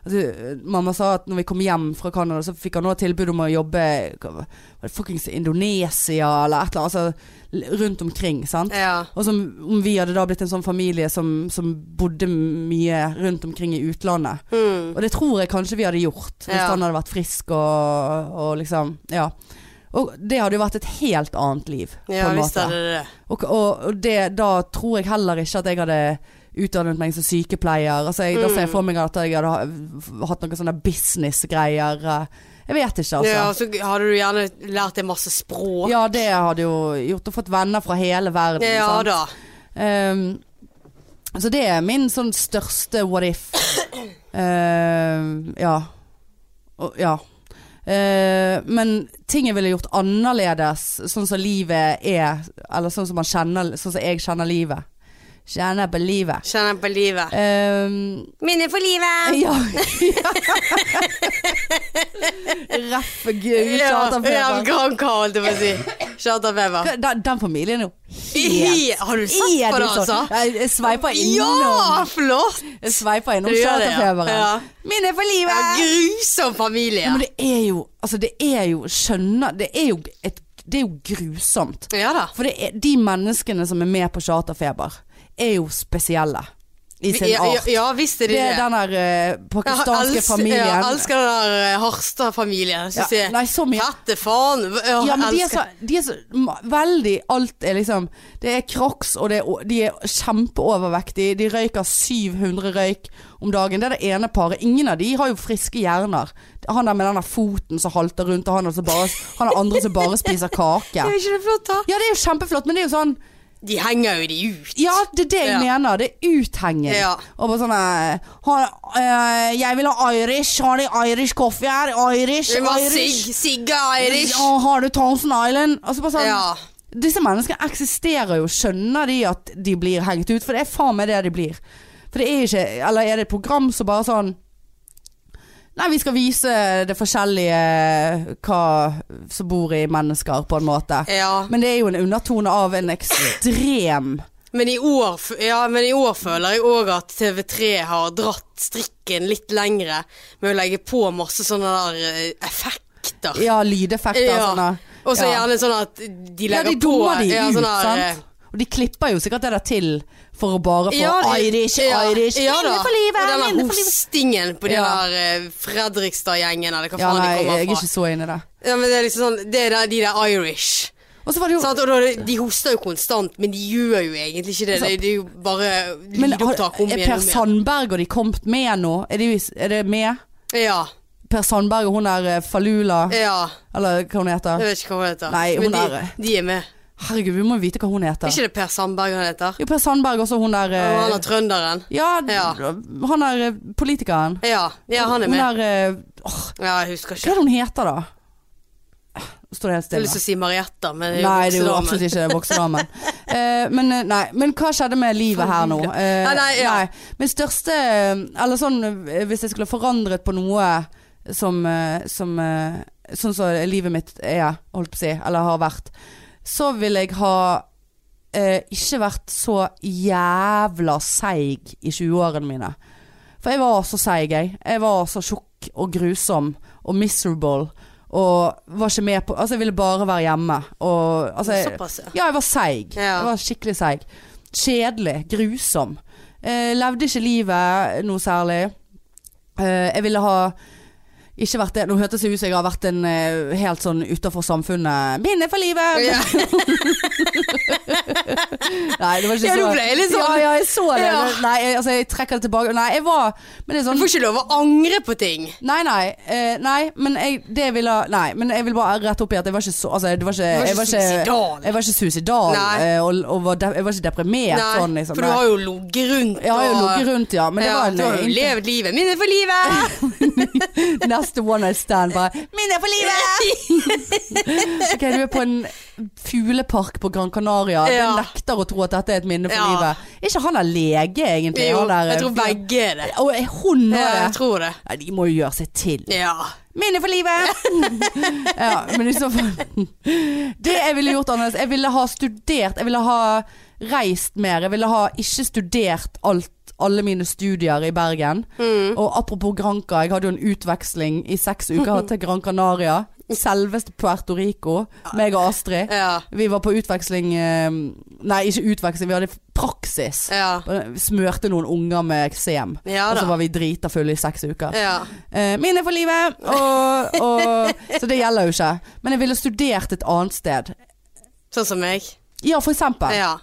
[SPEAKER 1] altså, Mamma sa at når vi kom hjem fra Canada, så fikk han òg tilbud om å jobbe hva var det fuckings Indonesia eller et eller annet. Altså l- rundt omkring, sant.
[SPEAKER 2] ja.
[SPEAKER 1] Og som om vi hadde da blitt en sånn familie som, som bodde mye rundt omkring i utlandet.
[SPEAKER 2] Mm.
[SPEAKER 1] Og det tror jeg kanskje vi hadde gjort, hvis
[SPEAKER 2] Ja.
[SPEAKER 1] han hadde vært frisk og, og liksom Ja. Og det hadde jo vært et helt annet liv,
[SPEAKER 2] Ja visst er det det.
[SPEAKER 1] og, og, og det, da tror jeg heller ikke at jeg hadde utdannet meg som sykepleier. Altså, jeg, Da ser jeg for meg at jeg hadde ha- hatt noen sånne businessgreier. eh. Jeg vet ikke, altså.
[SPEAKER 2] Ja, og så hadde du gjerne lært deg masse språk.
[SPEAKER 1] Ja, det hadde jo gjort og fått venner fra hele verden.
[SPEAKER 2] Ja,
[SPEAKER 1] sant?
[SPEAKER 2] da.
[SPEAKER 1] Ehm, så det er min sånn største what
[SPEAKER 2] <coughs>
[SPEAKER 1] if. Ehm, ja. Og, ja. Eh, men ting jeg ville gjort annerledes, sånn som livet er, eller sånn som, man kjenner, sånn som jeg kjenner livet. Kjenner på livet.
[SPEAKER 2] Kjenner jeg på livet. <laughs>
[SPEAKER 1] Ehm,
[SPEAKER 2] Minne for livet!
[SPEAKER 1] ja. Raff gud, Charter
[SPEAKER 2] ja,
[SPEAKER 1] Feber.
[SPEAKER 2] Gran Carl, holdt jeg på å si. Charter Feber.
[SPEAKER 1] Den, den familien er jo
[SPEAKER 2] I- Har du sett på det, altså?
[SPEAKER 1] sånn. Jeg, jeg sveiper innom.
[SPEAKER 2] Ja, flott!
[SPEAKER 1] Jeg sveiper innom
[SPEAKER 2] Du gjør det, ja.
[SPEAKER 1] charterfeberen.
[SPEAKER 2] Ja.
[SPEAKER 1] Min er for
[SPEAKER 2] Ja,
[SPEAKER 1] livet!
[SPEAKER 2] grusom
[SPEAKER 1] Ja,
[SPEAKER 2] familie.
[SPEAKER 1] men det er jo Altså, det er jo Skjønner Det er jo, et, det er jo grusomt.
[SPEAKER 2] Ja da.
[SPEAKER 1] For det er, de menneskene som er med på charterfeber, er jo spesielle i sin
[SPEAKER 2] Ja, ja,
[SPEAKER 1] art.
[SPEAKER 2] ja visst er de
[SPEAKER 1] Det
[SPEAKER 2] det.
[SPEAKER 1] er den der eh,
[SPEAKER 2] Jeg har
[SPEAKER 1] pakistanske
[SPEAKER 2] els-
[SPEAKER 1] familien.
[SPEAKER 2] Ja, jeg elsker den der eh, Harstad-familiien.
[SPEAKER 1] Ja,
[SPEAKER 2] Synes jeg.
[SPEAKER 1] nei, så mye.
[SPEAKER 2] Fette faen. Ja,
[SPEAKER 1] Ja, men de er
[SPEAKER 2] elsker-
[SPEAKER 1] så, de er så ma- veldig Alt er liksom Det er crocs, og det er, o- de er kjempeovervektige. De røyker 700 røyk om dagen. Det er det ene paret. Ingen av de har jo friske hjerner. Han der med den der foten som halter rundt, og han, er som bare, han er andre som bare spiser
[SPEAKER 2] <laughs>
[SPEAKER 1] kake.
[SPEAKER 2] Er ikke det flott, da?
[SPEAKER 1] Ja, det er jo kjempeflott, men det er jo sånn
[SPEAKER 2] De henger jo de ut.
[SPEAKER 1] Ja, det er det jeg
[SPEAKER 2] Ja.
[SPEAKER 1] mener. Det er uthenging.
[SPEAKER 2] Ja.
[SPEAKER 1] Og bare sånn eh, ha- eh, Jeg vil ha Irish. Har de Irish coffee her? Irish,
[SPEAKER 2] Det var
[SPEAKER 1] Irish.
[SPEAKER 2] Sig, Sigga Irish.
[SPEAKER 1] Ja, sånn. har du Thousand Island? Altså bare sånn
[SPEAKER 2] Ja.
[SPEAKER 1] Disse menneskene eksisterer jo, skjønner de at de blir hengt ut? For det er faen meg det de blir. For det er ikke Eller er det et program som bare sånn Nei, vi skal vise det forskjellige hva som bor i mennesker, på en måte.
[SPEAKER 2] Ja.
[SPEAKER 1] Men det er jo en undertone av en ekstrem
[SPEAKER 2] Men i år, f- ja, men i år føler jeg òg at TV3 har dratt strikken litt lengre med å legge på masse sånne der eh, effekter.
[SPEAKER 1] Ja, lydeffekter og
[SPEAKER 2] Ja.
[SPEAKER 1] sånne.
[SPEAKER 2] Og så
[SPEAKER 1] ja.
[SPEAKER 2] gjerne sånn at
[SPEAKER 1] ja,
[SPEAKER 2] de legger
[SPEAKER 1] de
[SPEAKER 2] på
[SPEAKER 1] dummer de
[SPEAKER 2] ja,
[SPEAKER 1] ut,
[SPEAKER 2] sånn der, eh,
[SPEAKER 1] sant? Og de klipper jo sikkert det der til for å bare få Irish, Irish,
[SPEAKER 2] da.
[SPEAKER 1] minne for livet,
[SPEAKER 2] Og den
[SPEAKER 1] minne
[SPEAKER 2] der
[SPEAKER 1] for livet.
[SPEAKER 2] hostingen på de
[SPEAKER 1] Ja.
[SPEAKER 2] der eh, Fredrikstad-gjengen, eller hva
[SPEAKER 1] Ja,
[SPEAKER 2] faen
[SPEAKER 1] nei,
[SPEAKER 2] de
[SPEAKER 1] jeg er
[SPEAKER 2] kommer
[SPEAKER 1] ikke
[SPEAKER 2] fra.
[SPEAKER 1] så inne i det.
[SPEAKER 2] Ja, men det er liksom sånn, det er der, de der Irish.
[SPEAKER 1] Og så var det jo
[SPEAKER 2] Sant? Og da, de hoster jo konstant, men de gjør jo egentlig ikke det. Det, det er jo bare
[SPEAKER 1] Men har,
[SPEAKER 2] lydopptak om
[SPEAKER 1] er
[SPEAKER 2] igjen
[SPEAKER 1] Per
[SPEAKER 2] og om igjen.
[SPEAKER 1] Sandberg og de kommet med nå? Er, de, er det med?
[SPEAKER 2] Ja,
[SPEAKER 1] Per Sandberg og hun der eh, Falula,
[SPEAKER 2] ja.
[SPEAKER 1] eller hva hun heter?
[SPEAKER 2] Jeg vet ikke hva hun heter.
[SPEAKER 1] Nei, hun
[SPEAKER 2] men de,
[SPEAKER 1] er-
[SPEAKER 2] de er med.
[SPEAKER 1] Herregud, vi må jo vite hva hun
[SPEAKER 2] Er
[SPEAKER 1] heter.
[SPEAKER 2] ikke det Per Sandberg han heter?
[SPEAKER 1] Jo, Per Sandberg også, hun der
[SPEAKER 2] Og han
[SPEAKER 1] eh,
[SPEAKER 2] er trønderen.
[SPEAKER 1] Ja,
[SPEAKER 2] Ja.
[SPEAKER 1] han er eh, politikeren.
[SPEAKER 2] Ja, ja, han er
[SPEAKER 1] Hun
[SPEAKER 2] med.
[SPEAKER 1] er eh, åh,
[SPEAKER 2] Ja, jeg husker
[SPEAKER 1] Hva
[SPEAKER 2] ikke.
[SPEAKER 1] er det hun heter, da? Eh, Står det helt
[SPEAKER 2] Jeg har
[SPEAKER 1] stille?
[SPEAKER 2] lyst til å si Marietta, men det er jo
[SPEAKER 1] Nei, det er jo
[SPEAKER 2] voksedamen.
[SPEAKER 1] absolutt ikke
[SPEAKER 2] <laughs>
[SPEAKER 1] voksedamen. Eh, men, eh, nei, men hva skjedde med livet her nå? Eh,
[SPEAKER 2] Ja, nei, ja.
[SPEAKER 1] Min største Eller sånn eh, hvis jeg skulle forandret på noe som, eh, som eh, Sånn som livet mitt er, holdt på å si, eller har vært, så vil jeg ha eh, ikke vært så jævla seig i 20-årene mine. For jeg var så seig, jeg. Jeg var så tjukk og grusom og miserable. Og var ikke med på Altså, jeg ville bare være hjemme. Og altså jeg,
[SPEAKER 2] Såpass, ja.
[SPEAKER 1] Ja, jeg var seig.
[SPEAKER 2] Ja.
[SPEAKER 1] Jeg var skikkelig seig. Kjedelig. Grusom. Eh, levde ikke livet noe særlig. Eh, jeg ville ha ikke vært det. Nå hørtes det ut som jeg har vært en eh, helt sånn utafor samfunnet Minne for livet!
[SPEAKER 2] Ja.
[SPEAKER 1] <laughs> Nei, det var ikke
[SPEAKER 2] Ja,
[SPEAKER 1] så
[SPEAKER 2] nå ble jeg litt sånn.
[SPEAKER 1] <laughs> Ja, ja, jeg så det.
[SPEAKER 2] Ja.
[SPEAKER 1] Nei, jeg, altså, jeg trekker det tilbake. Nei, jeg var Men det er
[SPEAKER 2] Du
[SPEAKER 1] sånn
[SPEAKER 2] får ikke lov å angre på ting.
[SPEAKER 1] Nei, nei. eh, nei, men jeg, det ville, nei, men jeg vil bare rette opp i at jeg var ikke så altså, det var ikke,
[SPEAKER 2] Du
[SPEAKER 1] jeg,
[SPEAKER 2] var ikke
[SPEAKER 1] var ikke,
[SPEAKER 2] suicidal.
[SPEAKER 1] jeg var ikke suicidal.
[SPEAKER 2] Nei.
[SPEAKER 1] eh, og, og var de, jeg var ikke deprimert
[SPEAKER 2] Nei,
[SPEAKER 1] sånn, liksom.
[SPEAKER 2] for du
[SPEAKER 1] Nei.
[SPEAKER 2] har jo ligget rundt.
[SPEAKER 1] jeg har jo
[SPEAKER 2] og-
[SPEAKER 1] ligget rundt, ja. Men det
[SPEAKER 2] ja,
[SPEAKER 1] var en
[SPEAKER 2] du har jo
[SPEAKER 1] eh,
[SPEAKER 2] levd livet. Minne for livet!
[SPEAKER 1] in- <laughs> neste one night stand. Bare Minne for
[SPEAKER 2] <laughs>
[SPEAKER 1] livet! Ok, du er på en fuglepark på Gran Canaria.
[SPEAKER 2] Ja.
[SPEAKER 1] Du nekter å tro at dette er et minne for
[SPEAKER 2] Ja.
[SPEAKER 1] livet. Er ikke han der lege, egentlig?
[SPEAKER 2] Jo,
[SPEAKER 1] han der,
[SPEAKER 2] jeg
[SPEAKER 1] eh,
[SPEAKER 2] tror
[SPEAKER 1] fyren?
[SPEAKER 2] begge er det.
[SPEAKER 1] Og er hun nå
[SPEAKER 2] Ja, jeg
[SPEAKER 1] det?
[SPEAKER 2] tror det.
[SPEAKER 1] Nei, de må jo gjøre seg til.
[SPEAKER 2] Ja.
[SPEAKER 1] Minne for livet! <laughs> ja, men i så fall Det jeg ville gjort annerledes Jeg ville ha studert, jeg ville ha reist mer. Jeg ville ha ikke studert alt, alle mine studier i Bergen.
[SPEAKER 2] Mm.
[SPEAKER 1] Og apropos Granca, jeg hadde jo en utveksling i seks uker til Gran Canaria. Selveste Puerto Rico. Meg og Astrid.
[SPEAKER 2] Ja.
[SPEAKER 1] Vi var på utveksling eh, Nei, ikke utveksling, vi hadde praksis.
[SPEAKER 2] Ja.
[SPEAKER 1] Smørte noen unger med eksem.
[SPEAKER 2] Ja
[SPEAKER 1] og så
[SPEAKER 2] da.
[SPEAKER 1] var vi drita fulle i seks uker.
[SPEAKER 2] ja.
[SPEAKER 1] Eh, Minne for livet! Og, og, så det gjelder jo ikke. Men jeg ville studert et annet sted.
[SPEAKER 2] Sånn som meg.
[SPEAKER 1] Ja, for eksempel.
[SPEAKER 2] Ja.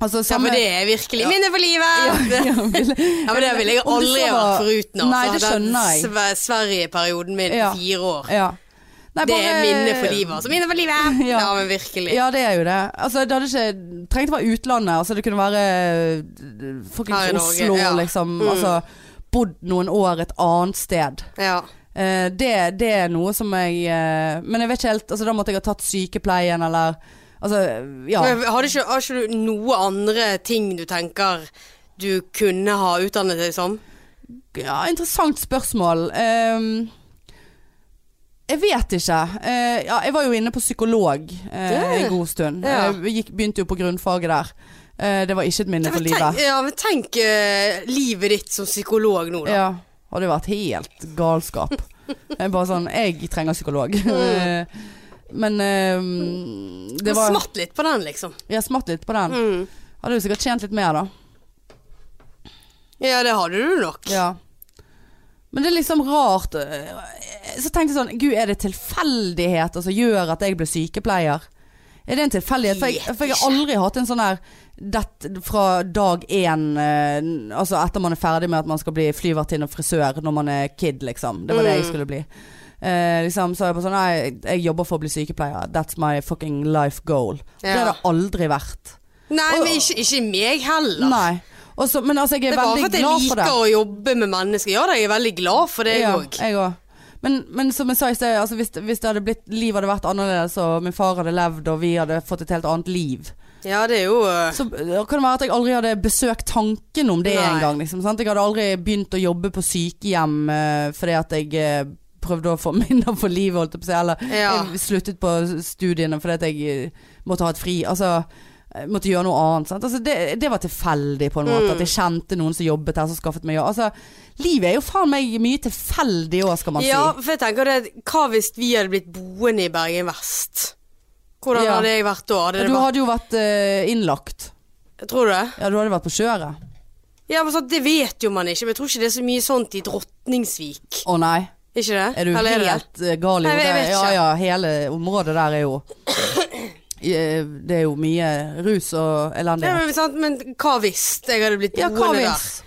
[SPEAKER 1] Altså,
[SPEAKER 2] ja,
[SPEAKER 1] samme-
[SPEAKER 2] for det er virkelig minne for livet!
[SPEAKER 1] <laughs> Ja, ville-
[SPEAKER 2] <laughs> Ja, men Det ville jeg
[SPEAKER 1] Om det
[SPEAKER 2] aldri
[SPEAKER 1] så
[SPEAKER 2] vært
[SPEAKER 1] var-
[SPEAKER 2] foruten. Altså.
[SPEAKER 1] Nei, det skjønner jeg.
[SPEAKER 2] Den sve- Sverige-perioden min,
[SPEAKER 1] Ja.
[SPEAKER 2] fire år.
[SPEAKER 1] Ja. Nei,
[SPEAKER 2] Det er
[SPEAKER 1] bare-
[SPEAKER 2] minne for livet. Altså. Minne for livet!
[SPEAKER 1] <laughs> Ja.
[SPEAKER 2] Ja, men virkelig.
[SPEAKER 1] Ja, det er jo det. Altså, det hadde ikke trengt å være utlandet. Altså, det kunne være eh,
[SPEAKER 2] Her i
[SPEAKER 1] fuckings
[SPEAKER 2] Norge,
[SPEAKER 1] Oslo,
[SPEAKER 2] ja. Mm.
[SPEAKER 1] liksom. Altså, bodd noen år et annet sted.
[SPEAKER 2] Ja.
[SPEAKER 1] Eh, det, det er noe som jeg eh, Men jeg vet ikke helt altså, Da måtte jeg ha tatt sykepleien, eller Altså, ja.
[SPEAKER 2] Men har, du ikke, har ikke du noe andre ting du tenker du kunne ha utdannet deg som?
[SPEAKER 1] Ja, interessant spørsmål. Ehm, jeg vet ikke. Eh, ja, jeg var jo inne på psykolog eh, en god stund.
[SPEAKER 2] Ja.
[SPEAKER 1] Jeg gikk, begynte jo på grunnfaget der. Eh, det var ikke et minne for
[SPEAKER 2] men tenk,
[SPEAKER 1] livet.
[SPEAKER 2] ja, men tenk eh, livet ditt som psykolog nå, da.
[SPEAKER 1] Ja, hadde jo vært helt galskap. Jeg bare sånn Jeg trenger psykolog.
[SPEAKER 2] Mm.
[SPEAKER 1] Eh, Men ehm, det var
[SPEAKER 2] Smatt litt på den, liksom.
[SPEAKER 1] Jeg smatt litt på den.
[SPEAKER 2] Mm.
[SPEAKER 1] Hadde jo sikkert tjent litt mer, da.
[SPEAKER 2] Ja, det hadde du nok.
[SPEAKER 1] Ja. Men det er liksom rart. øh, Så tenkte jeg sånn Gud, er det tilfeldigheter som gjør at jeg ble sykepleier? Er det en tilfeldighet? For jeg,
[SPEAKER 2] Vet
[SPEAKER 1] for jeg har aldri hatt en sånn her dett fra dag én øh, Altså etter man er ferdig med at man skal bli flyvertinne og frisør når man er kid, liksom. Det var det
[SPEAKER 2] Mm.
[SPEAKER 1] jeg skulle bli. Eh, liksom, så er jeg bare sånn Nei, jeg jobber for å bli sykepleier. That's my fucking life goal. Det
[SPEAKER 2] Ja.
[SPEAKER 1] har det aldri vært.
[SPEAKER 2] Nei,
[SPEAKER 1] Og-
[SPEAKER 2] men ikke, ikke meg heller.
[SPEAKER 1] Nei. Og så- men altså, jeg er
[SPEAKER 2] Det er bare for
[SPEAKER 1] veldig
[SPEAKER 2] at jeg
[SPEAKER 1] glad for det.
[SPEAKER 2] liker å jobbe med mennesker. Ja da, jeg er veldig glad for det, jeg
[SPEAKER 1] Ja,
[SPEAKER 2] òg.
[SPEAKER 1] jeg òg. Men, men som jeg sa i sted, altså hvis, hvis det hadde blitt, livet hadde vært annerledes, og min far hadde levd, og vi hadde fått et helt annet liv,
[SPEAKER 2] Ja, det er jo eh,
[SPEAKER 1] så eh, kan det være at jeg aldri hadde besøkt tanken om det
[SPEAKER 2] Nei.
[SPEAKER 1] engang. Liksom, sant? jeg hadde aldri begynt å jobbe på sykehjem eh, fordi at jeg eh, prøvde å få <laughs> minner for livet, holdt jeg på å si. Eller
[SPEAKER 2] Ja.
[SPEAKER 1] jeg sluttet på studiene fordi at jeg eh, måtte ha et fri. Altså, eh, måtte gjøre noe annet. Sant? Altså, det, det var tilfeldig, på en
[SPEAKER 2] Mm.
[SPEAKER 1] måte. At jeg kjente noen som jobbet her, som skaffet meg jobb. Altså, livet er jo faen meg mye tilfeldig òg, skal man
[SPEAKER 2] Ja,
[SPEAKER 1] si.
[SPEAKER 2] for jeg tenker det Hva hvis vi hadde blitt boende i Bergen vest? Hvordan
[SPEAKER 1] Ja.
[SPEAKER 2] hadde jeg vært da? Hadde det
[SPEAKER 1] Du
[SPEAKER 2] vært,
[SPEAKER 1] hadde jo vært eh, innlagt.
[SPEAKER 2] Tror du det?
[SPEAKER 1] Ja, du hadde vært på kjøret.
[SPEAKER 2] Ja, men sånn, Det vet jo man ikke, men jeg tror ikke det er så mye sånt i Drotningsvik.
[SPEAKER 1] Å nei,
[SPEAKER 2] Ikke det?
[SPEAKER 1] er du
[SPEAKER 2] Eller er det det?
[SPEAKER 1] helt eh, gal i
[SPEAKER 2] Nei, jeg
[SPEAKER 1] hodet?
[SPEAKER 2] vet
[SPEAKER 1] Ja
[SPEAKER 2] ikke.
[SPEAKER 1] ja, hele området der er jo Eh, Det er jo mye rus og
[SPEAKER 2] Ja,
[SPEAKER 1] elendighet.
[SPEAKER 2] men, sant? men hva hvis jeg hadde blitt
[SPEAKER 1] Ja, hva
[SPEAKER 2] boende der?
[SPEAKER 1] hvis?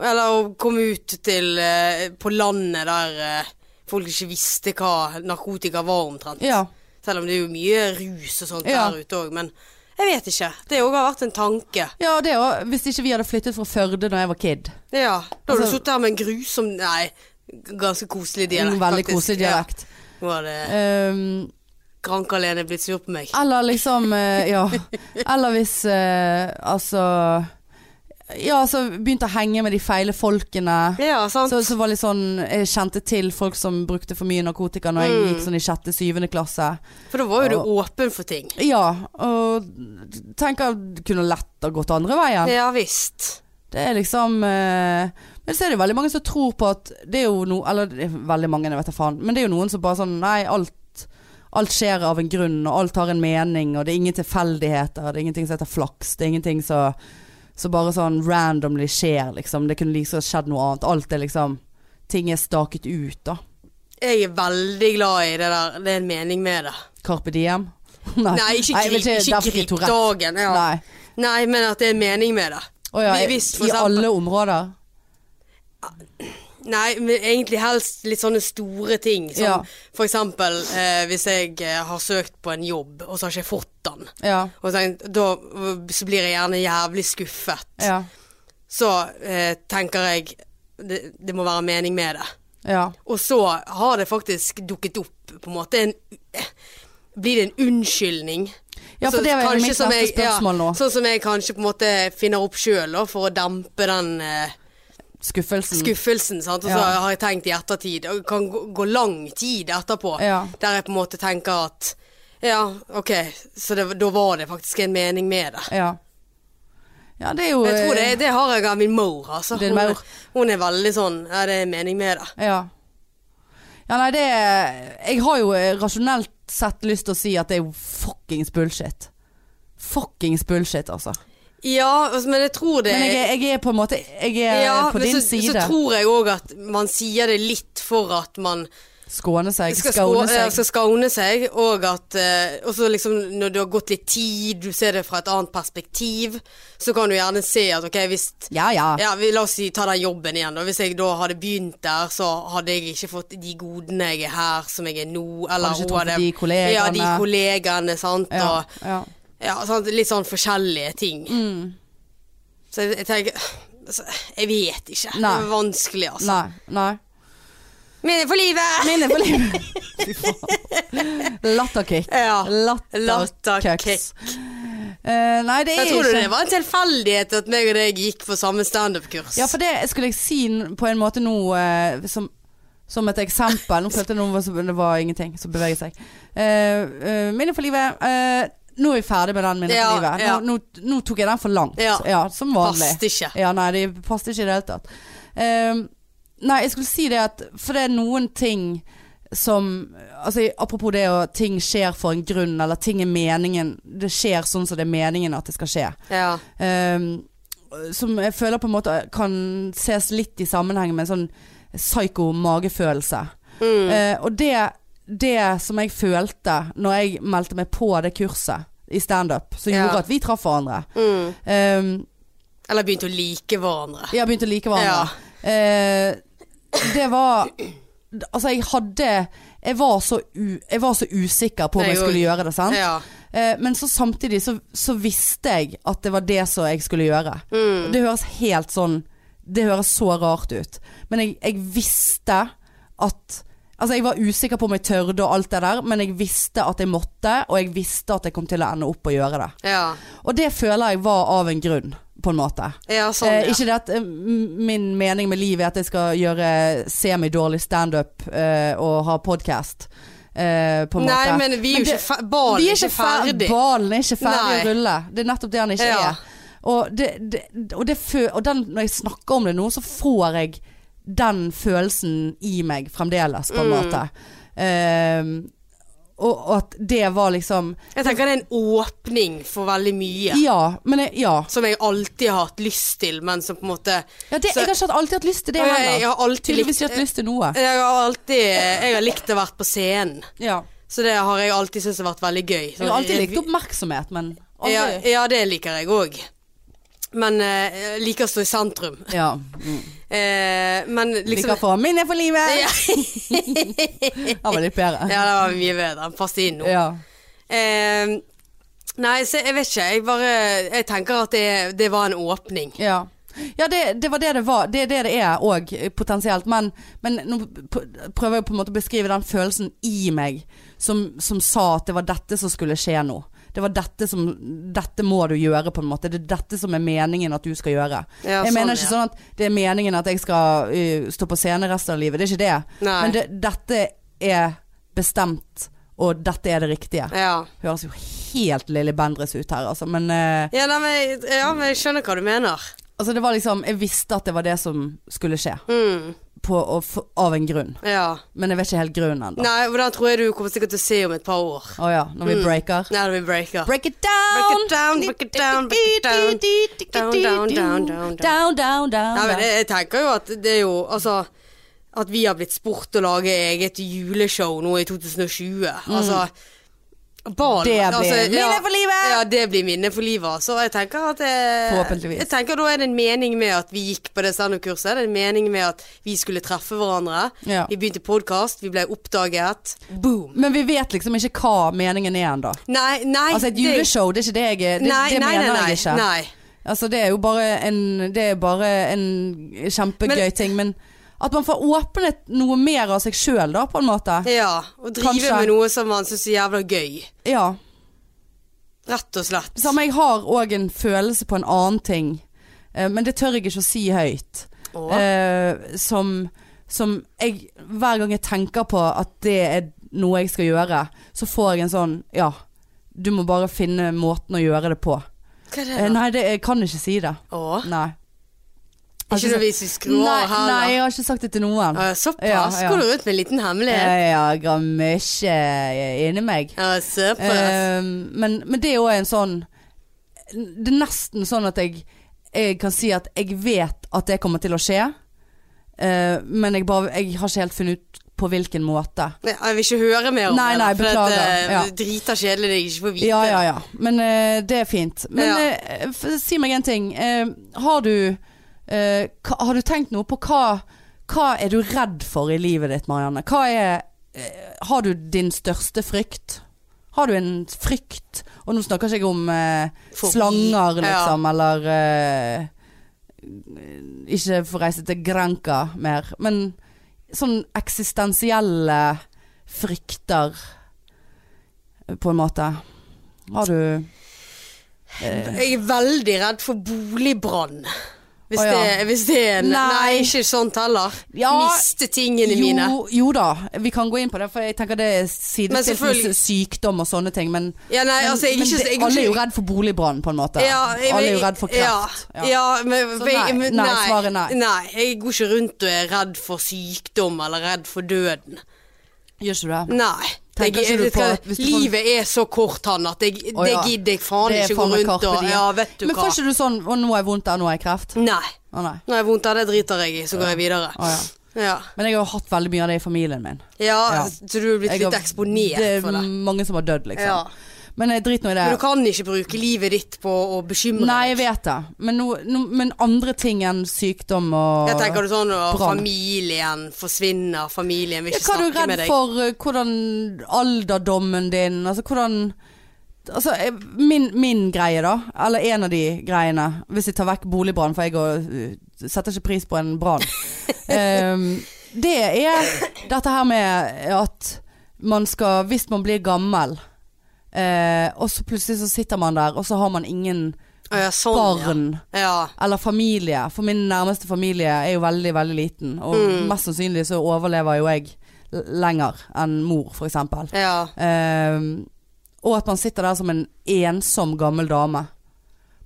[SPEAKER 2] Eller å komme ut til eh, på landet der eh, folk ikke visste hva narkotika var omtrent.
[SPEAKER 1] Ja.
[SPEAKER 2] Selv om det er jo mye rus og sånt
[SPEAKER 1] Ja.
[SPEAKER 2] der ute òg, men jeg vet ikke. Det òg har vært en tanke.
[SPEAKER 1] ja, det òg. Hvis ikke vi hadde flyttet fra Førde da jeg var kid.
[SPEAKER 2] Ja, Da har du
[SPEAKER 1] Altså-
[SPEAKER 2] sittet her med en grusom Nei, ganske koselig dialekt,
[SPEAKER 1] en veldig
[SPEAKER 2] faktisk.
[SPEAKER 1] koselig dialekt.
[SPEAKER 2] Ja. Nå hadde
[SPEAKER 1] Um,
[SPEAKER 2] Granka-Lene blitt sur på meg.
[SPEAKER 1] eller liksom eh, Ja. Eller hvis eh, altså Ja, altså begynte å henge med de feile folkene.
[SPEAKER 2] Ja, sant.
[SPEAKER 1] Så, så var litt sånn Jeg kjente til folk som brukte for mye narkotika når
[SPEAKER 2] Mm.
[SPEAKER 1] jeg gikk sånn i sjette-syvende klasse.
[SPEAKER 2] For da var jo du åpen for ting.
[SPEAKER 1] Ja, og tenker kunne lett ha gått andre veien.
[SPEAKER 2] Ja visst.
[SPEAKER 1] Det er liksom eh, Men så er det veldig mange som tror på at Det er jo noe Eller det er veldig mange, jeg vet da faen. Men det er jo noen som bare sånn Nei, alt, alt skjer av en grunn, og alt har en mening, og det er ingen tilfeldigheter. Det er ingenting som heter flaks. Det er ingenting som som bare sånn randomly skjer, liksom. Det kunne like liksom skjedd noe annet. Alt er liksom Ting er staket ut, da.
[SPEAKER 2] Jeg er veldig glad i det der. Det er en mening med det.
[SPEAKER 1] Carpe diem. <laughs> Nei,
[SPEAKER 2] Nei, ikke
[SPEAKER 1] jeg
[SPEAKER 2] grip,
[SPEAKER 1] vet
[SPEAKER 2] ikke
[SPEAKER 1] derfor ikke
[SPEAKER 2] grip
[SPEAKER 1] Tourette.
[SPEAKER 2] dagen. Ja. Nei.
[SPEAKER 1] Nei.
[SPEAKER 2] men at det er en mening med det.
[SPEAKER 1] Å ja,
[SPEAKER 2] Vi-
[SPEAKER 1] i
[SPEAKER 2] hvis for eksempel-
[SPEAKER 1] alle områder.
[SPEAKER 2] Nei, men egentlig helst litt sånne store ting. Som
[SPEAKER 1] Ja.
[SPEAKER 2] for eksempel eh, hvis jeg eh, har søkt på en jobb, og så har ikke jeg fått den.
[SPEAKER 1] Ja.
[SPEAKER 2] Og tenkt, da øh, så blir jeg gjerne jævlig skuffet.
[SPEAKER 1] Ja.
[SPEAKER 2] Så eh, tenker jeg det, det må være en mening med det.
[SPEAKER 1] ja.
[SPEAKER 2] Og så har det faktisk dukket opp på en måte en eh, Blir det en unnskyldning?
[SPEAKER 1] Ja, for
[SPEAKER 2] Så
[SPEAKER 1] det var jo
[SPEAKER 2] kanskje
[SPEAKER 1] mitt
[SPEAKER 2] som
[SPEAKER 1] neste
[SPEAKER 2] jeg- ja,
[SPEAKER 1] spørsmål nå.
[SPEAKER 2] Sånn som jeg kanskje på en måte finner opp sjøl, da, for å dempe den eh,
[SPEAKER 1] Skuffelsen.
[SPEAKER 2] skuffelsen. Sant? Og så
[SPEAKER 1] Mm. Ja.
[SPEAKER 2] har jeg tenkt i ettertid, og det kan gå, gå lang tid etterpå,
[SPEAKER 1] Ja.
[SPEAKER 2] der jeg på en måte tenker at ja, OK, så det, da var det faktisk en mening med det.
[SPEAKER 1] Ja. Ja, det er jo
[SPEAKER 2] Men jeg tror
[SPEAKER 1] eh,
[SPEAKER 2] det, det har jeg av min mor, altså.
[SPEAKER 1] Din
[SPEAKER 2] Hun,
[SPEAKER 1] mor.
[SPEAKER 2] hun er veldig sånn Ja, det er en mening med det.
[SPEAKER 1] eh, Ja. Ja, nei, det er Jeg har jo eh, rasjonelt sett lyst til å si at det er jo fuckings bullshit. Fuckings bullshit, altså.
[SPEAKER 2] Ja, altså, men jeg tror det
[SPEAKER 1] Men jeg er, jeg er på en måte Jeg er
[SPEAKER 2] ja,
[SPEAKER 1] på
[SPEAKER 2] men
[SPEAKER 1] din
[SPEAKER 2] så,
[SPEAKER 1] side.
[SPEAKER 2] så tror jeg òg at man sier det litt for at man
[SPEAKER 1] skåne seg,
[SPEAKER 2] skal,
[SPEAKER 1] skåne
[SPEAKER 2] skå- ja,
[SPEAKER 1] seg.
[SPEAKER 2] skal skåne seg, og at eh, Og så liksom når det har gått litt tid, du ser det fra et annet perspektiv, så kan du gjerne se at ok, hvis
[SPEAKER 1] Ja, ja.
[SPEAKER 2] ja, vi, La oss si ta den jobben igjen, da. Hvis jeg da hadde begynt der, så hadde jeg ikke fått de godene jeg er her som jeg er nå, eller
[SPEAKER 1] Hadde ikke
[SPEAKER 2] hun
[SPEAKER 1] truffet de kollegene.
[SPEAKER 2] Ja, de kollegene, sant.
[SPEAKER 1] Ja,
[SPEAKER 2] Og,
[SPEAKER 1] ja. Mm,
[SPEAKER 2] ja, sant? Litt sånn forskjellige ting. Så jeg, jeg tenker altså, Jeg vet ikke.
[SPEAKER 1] Nei.
[SPEAKER 2] Det er vanskelig, altså.
[SPEAKER 1] Nei. Nei.
[SPEAKER 2] Minne for livet!
[SPEAKER 1] Minne på
[SPEAKER 2] <laughs>
[SPEAKER 1] livet. Fy faen. Latterkick.
[SPEAKER 2] Ja.
[SPEAKER 1] Latterkicks.
[SPEAKER 2] Latterkick.
[SPEAKER 1] Eh, nei, det er
[SPEAKER 2] Jeg tror
[SPEAKER 1] ikke
[SPEAKER 2] det var en tilfeldighet at meg og deg gikk på samme standup-kurs.
[SPEAKER 1] Ja, for det skulle jeg si n- på en måte nå eh, som, som et eksempel. Nå følte jeg noe var, det var ingenting som beveget seg. Eh, eh, minne for livet. Eh, nå er vi ferdig med den minnet
[SPEAKER 2] Ja,
[SPEAKER 1] for livet. Nå,
[SPEAKER 2] ja.
[SPEAKER 1] nå, nå tok jeg den for langt. Ja,
[SPEAKER 2] Ja.
[SPEAKER 1] som vanlig.
[SPEAKER 2] Passet ikke.
[SPEAKER 1] Ja, nei, det passet ikke i det hele tatt. Eh, nei, jeg skulle si det at For det er noen ting som altså, Apropos det at ting skjer for en grunn, eller ting er meningen. Det skjer sånn som det er meningen at det skal skje.
[SPEAKER 2] Ja.
[SPEAKER 1] Ehm, som jeg føler på en måte kan ses litt i sammenheng med en sånn psyko-magefølelse.
[SPEAKER 2] Mm.
[SPEAKER 1] Eh, og det, det som jeg følte når jeg meldte meg på det kurset i standup, som
[SPEAKER 2] Ja.
[SPEAKER 1] gjorde at vi traff hverandre
[SPEAKER 2] Mm.
[SPEAKER 1] ehm,
[SPEAKER 2] Eller begynte å like hverandre.
[SPEAKER 1] Jeg begynte å like hverandre. Eh, det var Altså, jeg hadde Jeg var så, u, jeg var så usikker på om jeg
[SPEAKER 2] Jeg
[SPEAKER 1] skulle
[SPEAKER 2] òg.
[SPEAKER 1] gjøre det, sant?
[SPEAKER 2] Ja.
[SPEAKER 1] Eh, men så samtidig så, så visste jeg at det var det som jeg skulle gjøre. Det høres helt sånn Det høres så rart ut. Men jeg, jeg visste at Altså Jeg var usikker på om jeg tørde og alt det der, men jeg visste at jeg måtte, og jeg visste at jeg kom til å ende opp og gjøre det.
[SPEAKER 2] Ja.
[SPEAKER 1] Og det føler jeg var av en grunn, på en måte.
[SPEAKER 2] ja sånn,
[SPEAKER 1] eh,
[SPEAKER 2] ja.
[SPEAKER 1] Ikke det at eh, m- min mening med livet er at jeg skal gjøre semidårlig standup eh, og ha podkast. eh, på en
[SPEAKER 2] Nei,
[SPEAKER 1] måte.
[SPEAKER 2] men vi er jo
[SPEAKER 1] det-
[SPEAKER 2] ikke fe- ballen
[SPEAKER 1] vi
[SPEAKER 2] er ikke
[SPEAKER 1] fer-
[SPEAKER 2] ferdig.
[SPEAKER 1] Ballen er ikke ferdig å
[SPEAKER 2] Nei.
[SPEAKER 1] rulle. Det er nettopp det han ikke
[SPEAKER 2] Ja.
[SPEAKER 1] er. Og, det, det, og, det fø og den, når jeg snakker om det nå, så får jeg den følelsen i meg fremdeles, på en
[SPEAKER 2] Mm.
[SPEAKER 1] måte. Ehm, og, og at det var liksom
[SPEAKER 2] Jeg tenker det er en åpning for veldig mye.
[SPEAKER 1] Ja, men jeg, ja.
[SPEAKER 2] Som jeg alltid har hatt lyst til, men som på en måte
[SPEAKER 1] ja det,
[SPEAKER 2] Så-
[SPEAKER 1] jeg har ikke hatt- alltid hatt lyst til det
[SPEAKER 2] Og jeg-
[SPEAKER 1] heller.
[SPEAKER 2] jeg har alltid
[SPEAKER 1] Tydeligvis
[SPEAKER 2] likt-
[SPEAKER 1] hatt lyst til noe.
[SPEAKER 2] Jeg har alltid Jeg har likt å vært på scenen.
[SPEAKER 1] Ja.
[SPEAKER 2] Så det har jeg alltid syntes har vært veldig gøy.
[SPEAKER 1] Jeg har alltid likt oppmerksomhet, men aldri
[SPEAKER 2] Ja, ja, det liker jeg òg. Men eh, jeg liker å stå i sentrum.
[SPEAKER 1] Ja.
[SPEAKER 2] Eh, men liksom
[SPEAKER 1] Liker å få minner for livet.
[SPEAKER 2] Ja.
[SPEAKER 1] Han var litt bedre.
[SPEAKER 2] Ja, det var mye bedre. Han passet inn nå.
[SPEAKER 1] Ja.
[SPEAKER 2] Eh, nei, så jeg vet ikke. Jeg bare Jeg tenker at det, det var en åpning.
[SPEAKER 1] Ja, ja det, det var det det var. Det er det det er òg, potensielt. Men, men nå p- prøver jeg på en måte å beskrive den følelsen i meg som, som sa at det var dette som skulle skje nå. Det var dette som Dette må du gjøre, på en måte. Det er dette som er meningen at du skal gjøre.
[SPEAKER 2] Ja,
[SPEAKER 1] jeg
[SPEAKER 2] sånn,
[SPEAKER 1] mener ikke
[SPEAKER 2] ja.
[SPEAKER 1] sånn at det er meningen at jeg skal ø, stå på scene resten av livet. Det er ikke det.
[SPEAKER 2] Nei.
[SPEAKER 1] Men det, dette er bestemt, og dette er det riktige.
[SPEAKER 2] Ja.
[SPEAKER 1] Høres jo helt Lilly Bendriss ut her, altså. Men ø,
[SPEAKER 2] Ja, nei, men, ja, men jeg skjønner hva du mener.
[SPEAKER 1] Altså det var liksom, jeg visste at det var det som skulle skje.
[SPEAKER 2] Mm,
[SPEAKER 1] På, og f- av en grunn.
[SPEAKER 2] ja.
[SPEAKER 1] Men jeg vet ikke helt grunnen ennå.
[SPEAKER 2] Nei, hvordan tror jeg du kommer sikkert til å se om et par år? Mm.
[SPEAKER 1] Å ja, når vi breaker.
[SPEAKER 2] Nei, når vi breaker.
[SPEAKER 1] Break it down!
[SPEAKER 2] Break it down, break it down, break it down. Down, down, down, down, down.
[SPEAKER 1] Down, down, down,
[SPEAKER 2] Nei, men
[SPEAKER 1] down.
[SPEAKER 2] jeg, jeg tenker jo at det er jo Altså at vi har blitt spurt å lage eget juleshow nå i 2020. Altså Barn
[SPEAKER 1] Mm. Det blir
[SPEAKER 2] altså,
[SPEAKER 1] minne for livet!
[SPEAKER 2] Ja, det blir minne for livet. Så jeg tenker at det,
[SPEAKER 1] Forhåpentligvis.
[SPEAKER 2] Jeg tenker Da er det en mening med at vi gikk på det standup-kurset. Det er en mening med at vi skulle treffe hverandre.
[SPEAKER 1] Ja.
[SPEAKER 2] Vi begynte podkast, vi ble oppdaget. Boom!
[SPEAKER 1] Men vi vet liksom ikke hva meningen er ennå.
[SPEAKER 2] Nei, nei
[SPEAKER 1] Altså et
[SPEAKER 2] det-
[SPEAKER 1] juleshow, det er ikke det jeg Det,
[SPEAKER 2] Nei,
[SPEAKER 1] det
[SPEAKER 2] nei,
[SPEAKER 1] mener
[SPEAKER 2] nei, nei,
[SPEAKER 1] jeg ikke.
[SPEAKER 2] nei.
[SPEAKER 1] Altså det er jo bare en, det er bare en kjempegøy
[SPEAKER 2] Men-
[SPEAKER 1] ting, men at man får åpnet noe mer av seg sjøl, da, på en måte.
[SPEAKER 2] Ja. Å drive
[SPEAKER 1] Kanskje.
[SPEAKER 2] med noe som man syns er jævla gøy.
[SPEAKER 1] Ja.
[SPEAKER 2] Rett og slett.
[SPEAKER 1] Samme, jeg har òg en følelse på en annen ting, eh, men det tør jeg ikke å si høyt.
[SPEAKER 2] Å.
[SPEAKER 1] Eh, som, som jeg Hver gang jeg tenker på at det er noe jeg skal gjøre, så får jeg en sånn Ja, du må bare finne måten å gjøre det på.
[SPEAKER 2] Hva er det?
[SPEAKER 1] Eh,
[SPEAKER 2] da?
[SPEAKER 1] nei, det, jeg kan ikke si det.
[SPEAKER 2] Å.
[SPEAKER 1] Nei.
[SPEAKER 2] Ikke
[SPEAKER 1] Altså,
[SPEAKER 2] noe hvis vi skrår
[SPEAKER 1] Nei,
[SPEAKER 2] her. da.
[SPEAKER 1] nei, jeg har ikke sagt det til noen.
[SPEAKER 2] Ah, Såpass?
[SPEAKER 1] Ja, ja.
[SPEAKER 2] Går du rundt med en liten hemmelighet?
[SPEAKER 1] Eh, ja, jeg har mye inni meg.
[SPEAKER 2] Ja, Såpass?
[SPEAKER 1] Eh, men, men det er jo en sånn Det er nesten sånn at jeg, jeg kan si at jeg vet at det kommer til å skje, eh, men jeg, bare, jeg har ikke helt funnet ut på hvilken måte.
[SPEAKER 2] Nei, ah, jeg vil ikke høre mer om
[SPEAKER 1] Nei,
[SPEAKER 2] det.
[SPEAKER 1] nei,
[SPEAKER 2] for at,
[SPEAKER 1] beklager,
[SPEAKER 2] eh,
[SPEAKER 1] ja.
[SPEAKER 2] Det driter kjedelig det jeg ikke får vite.
[SPEAKER 1] Ja, ja, ja. Men eh, det er fint. Men
[SPEAKER 2] Ja.
[SPEAKER 1] eh, f- si meg en ting. Eh, har du eh, hva, Har du tenkt noe på hva Hva er du redd for i livet ditt, Marianne? Hva er eh, Har du din største frykt? Har du en frykt? Og nå snakker ikke jeg om eh,
[SPEAKER 2] Fobi.
[SPEAKER 1] slanger,
[SPEAKER 2] Ja.
[SPEAKER 1] liksom, eller eh, Ikke få reise til Granca mer. Men sånn eksistensielle frykter, eh, på en måte. Har du
[SPEAKER 2] Jeg er veldig redd for boligbrann. Hvis,
[SPEAKER 1] Å, ja.
[SPEAKER 2] det, hvis det er en
[SPEAKER 1] Nei.
[SPEAKER 2] Nei, ikke sånt heller.
[SPEAKER 1] Ja.
[SPEAKER 2] Miste tingene mine.
[SPEAKER 1] Jo, jo da, vi kan gå inn på det, for jeg tenker det er sidestilt
[SPEAKER 2] selvfølgelig-
[SPEAKER 1] med sykdom og sånne ting. Men,
[SPEAKER 2] Ja, nei,
[SPEAKER 1] men,
[SPEAKER 2] altså, jeg er
[SPEAKER 1] men
[SPEAKER 2] ikke,
[SPEAKER 1] det-
[SPEAKER 2] jeg,
[SPEAKER 1] alle er jo
[SPEAKER 2] ikke-
[SPEAKER 1] redd for boligbrann, på en måte.
[SPEAKER 2] Ja, jeg-
[SPEAKER 1] alle er jo redd for kreft.
[SPEAKER 2] Ja, ja men
[SPEAKER 1] Så
[SPEAKER 2] jeg-
[SPEAKER 1] nei,
[SPEAKER 2] men
[SPEAKER 1] nei, svaret nei.
[SPEAKER 2] Nei, jeg går ikke rundt og er redd for sykdom eller redd for døden.
[SPEAKER 1] Gjør ikke du det?
[SPEAKER 2] Nei.
[SPEAKER 1] Tenker
[SPEAKER 2] jeg,
[SPEAKER 1] ikke du
[SPEAKER 2] vet
[SPEAKER 1] på
[SPEAKER 2] hva,
[SPEAKER 1] at hvis du får-
[SPEAKER 2] livet er så kort, han, at jeg,
[SPEAKER 1] Å, ja.
[SPEAKER 2] det gidder jeg faen
[SPEAKER 1] Det er
[SPEAKER 2] ikke gå
[SPEAKER 1] faen meg
[SPEAKER 2] rundt
[SPEAKER 1] carpe
[SPEAKER 2] og
[SPEAKER 1] diem.
[SPEAKER 2] Ja, vet du
[SPEAKER 1] Men
[SPEAKER 2] hva.
[SPEAKER 1] får ikke du sånn 'Å, nå har jeg vondt der, nå har jeg kreft'?
[SPEAKER 2] Nei.
[SPEAKER 1] Å nei.
[SPEAKER 2] Når jeg har vondt av det, driter jeg i, så går jeg videre.
[SPEAKER 1] Å, ja.
[SPEAKER 2] Ja.
[SPEAKER 1] Men jeg har jo hatt veldig mye av det i familien min.
[SPEAKER 2] ja,
[SPEAKER 1] Ja.
[SPEAKER 2] så du er blitt
[SPEAKER 1] Jeg
[SPEAKER 2] litt
[SPEAKER 1] har-
[SPEAKER 2] eksponert for det.
[SPEAKER 1] er mange som har dødd, liksom.
[SPEAKER 2] Ja.
[SPEAKER 1] Men eh, drit nå i det.
[SPEAKER 2] Men du kan ikke bruke livet ditt på å bekymre
[SPEAKER 1] Nei, jeg
[SPEAKER 2] deg.
[SPEAKER 1] vet det. Men, no, no, men andre ting enn sykdom og
[SPEAKER 2] Jeg tenker du sånn at
[SPEAKER 1] Brann.
[SPEAKER 2] familien forsvinner, familien vil
[SPEAKER 1] Ja,
[SPEAKER 2] ikke
[SPEAKER 1] hva er du
[SPEAKER 2] snakke
[SPEAKER 1] redd
[SPEAKER 2] med deg.
[SPEAKER 1] for? eh, Hvordan alderdommen din? Altså hvordan Altså, eh, min, min greie, da. Eller en av de greiene. Hvis jeg tar vekk boligbrann, for jeg går, eh, setter ikke pris på en
[SPEAKER 2] <laughs>
[SPEAKER 1] brann. Ehm, det er dette her med at man skal Hvis man blir gammel, eh, og så plutselig så sitter man der, og så har man ingen
[SPEAKER 2] Å, ja, sånn,
[SPEAKER 1] barn
[SPEAKER 2] Ja. ja.
[SPEAKER 1] eller familie, for min nærmeste familie er jo veldig, veldig liten. Og mest sannsynlig så overlever jo jeg lenger enn mor, for eksempel.
[SPEAKER 2] Ja.
[SPEAKER 1] Ehm, og at man sitter der som en ensom gammel dame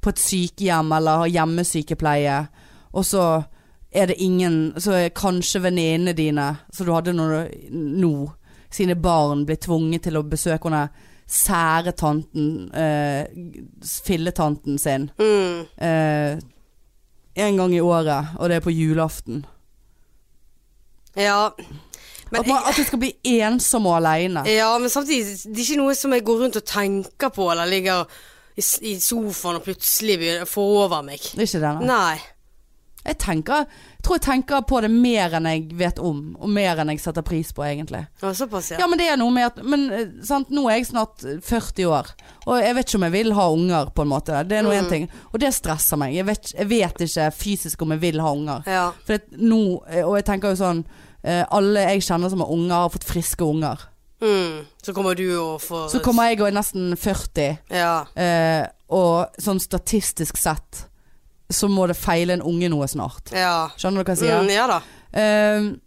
[SPEAKER 1] på et sykehjem eller har hjemmesykepleie, og så er det ingen Så er kanskje venninnene dine, som du hadde når du- nå, sine barn blir tvunget til å besøke henne sære tanten, eh, filletanten sin,
[SPEAKER 2] Mm.
[SPEAKER 1] eh, en gang i året, og det er på julaften.
[SPEAKER 2] ja. Men Eh,
[SPEAKER 1] At, man, at du skal bli ensom og aleine.
[SPEAKER 2] Ja, men samtidig, det er ikke noe som jeg går rundt og tenker på, eller ligger i, s- i sofaen og plutselig begynner- får over meg.
[SPEAKER 1] Det er ikke det, nei.
[SPEAKER 2] Nei.
[SPEAKER 1] Jeg tenker, jeg tror jeg tenker på det mer enn jeg vet om, og mer enn jeg setter pris på, egentlig.
[SPEAKER 2] Ja, såpass, ja.
[SPEAKER 1] Ja, men det er noe med at men, eh, sant, Nå er jeg snart 40 år, og jeg vet ikke om jeg vil ha unger, på en måte. Det er nå én
[SPEAKER 2] Mm.
[SPEAKER 1] ting. Og det stresser meg. Jeg vet, jeg vet ikke fysisk om jeg vil ha unger.
[SPEAKER 2] Ja.
[SPEAKER 1] For det, nå, eh, og jeg tenker jo sånn eh, Alle jeg kjenner som har unger, har fått friske unger.
[SPEAKER 2] Mm. Så kommer du og får
[SPEAKER 1] Så kommer jeg og er nesten 40,
[SPEAKER 2] Ja.
[SPEAKER 1] eh, og sånn statistisk sett så må det feile en unge noe snart.
[SPEAKER 2] Ja.
[SPEAKER 1] Skjønner du hva jeg sier?
[SPEAKER 2] Mm, ja da.
[SPEAKER 1] Ehm,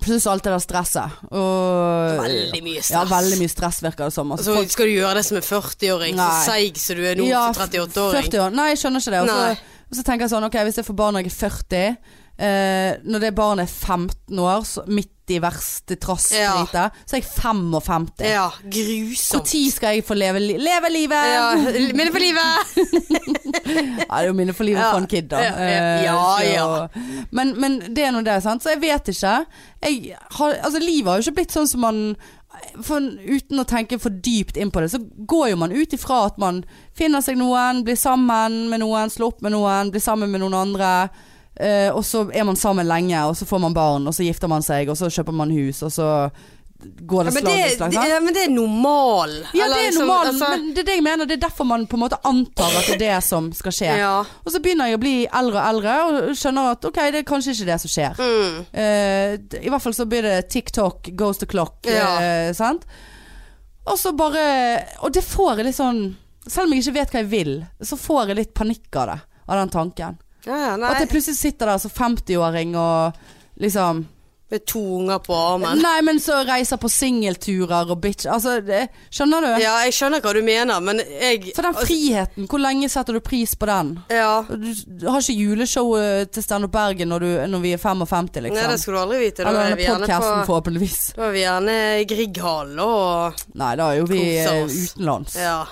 [SPEAKER 1] Pluss alt det der stresset. Og
[SPEAKER 2] Veldig mye stress.
[SPEAKER 1] Ja, veldig mye stress virker det som.
[SPEAKER 2] Så skal du gjøre det som en 40-åring, så
[SPEAKER 1] Nei.
[SPEAKER 2] seig som du er nå
[SPEAKER 1] ja,
[SPEAKER 2] som 38-åring.
[SPEAKER 1] 40 år. Nei, jeg skjønner ikke det. Og
[SPEAKER 2] Nei.
[SPEAKER 1] så, og så tenker jeg sånn, ok, hvis jeg får barn når jeg er 40 eh, Når det barnet er 15 år, så midt i verste trassdritet, så er jeg 55.
[SPEAKER 2] Ja,
[SPEAKER 1] Hvor
[SPEAKER 2] grusomt.
[SPEAKER 1] tid skal jeg få leve, li leve livet?
[SPEAKER 2] Ja, minne for livet!
[SPEAKER 1] Ja, det er jo minne for livet
[SPEAKER 2] Ja.
[SPEAKER 1] for en kid, da.
[SPEAKER 2] Ja, ja.
[SPEAKER 1] Eh,
[SPEAKER 2] Ja,
[SPEAKER 1] så-
[SPEAKER 2] ja.
[SPEAKER 1] Men, men det er nå det, sant. Så jeg vet ikke. Jeg har, altså, livet har jo ikke blitt sånn som man for, Uten å tenke for dypt inn på det, så går jo man ut ifra at man finner seg noen, blir sammen med noen, slår opp med noen, blir sammen med noen andre. eh, og så er man sammen lenge, og så får man barn, og så gifter man seg, og så kjøper man hus, og så går
[SPEAKER 2] Ja,
[SPEAKER 1] det
[SPEAKER 2] men, det,
[SPEAKER 1] slag i slag.
[SPEAKER 2] det,
[SPEAKER 1] sant?
[SPEAKER 2] ja, men det er normal.
[SPEAKER 1] Ja,
[SPEAKER 2] Eller
[SPEAKER 1] det er
[SPEAKER 2] liksom,
[SPEAKER 1] normalen,
[SPEAKER 2] altså-
[SPEAKER 1] men det er det jeg mener. Det er derfor man på en måte antar at det er det som skal skje.
[SPEAKER 2] Ja.
[SPEAKER 1] Og så begynner jeg å bli eldre og eldre og skjønner at ok, det er kanskje ikke det som skjer.
[SPEAKER 2] Mm.
[SPEAKER 1] Eh, d- I hvert fall så blir det TikTok, goes the clock,
[SPEAKER 2] Ja.
[SPEAKER 1] eh, sant. Og så bare Og det får jeg litt sånn Selv om jeg ikke vet hva jeg vil, så får jeg litt panikk av det. Av den tanken.
[SPEAKER 2] Ja, ja, nei.
[SPEAKER 1] At jeg plutselig sitter der som 50-åring og liksom
[SPEAKER 2] Med to unger på armen.
[SPEAKER 1] Nei, men så reiser på singelturer og bitch Altså, det, skjønner du?
[SPEAKER 2] Ja, jeg skjønner hva du mener, men jeg
[SPEAKER 1] For den friheten, hvor lenge setter du pris på den?
[SPEAKER 2] Ja.
[SPEAKER 1] Du, du har ikke juleshow eh, til Stand Up Bergen når, du, når vi er 55, liksom.
[SPEAKER 2] Nei, det skulle du aldri vite. Da
[SPEAKER 1] Eller
[SPEAKER 2] er
[SPEAKER 1] denne
[SPEAKER 2] vi gjerne
[SPEAKER 1] podkasten,
[SPEAKER 2] på
[SPEAKER 1] forhåpentligvis.
[SPEAKER 2] Da er vi gjerne i Grieghallen og
[SPEAKER 1] Nei, da er jo vi
[SPEAKER 2] Koser
[SPEAKER 1] eh,
[SPEAKER 2] oss.
[SPEAKER 1] utenlands.
[SPEAKER 2] Ja.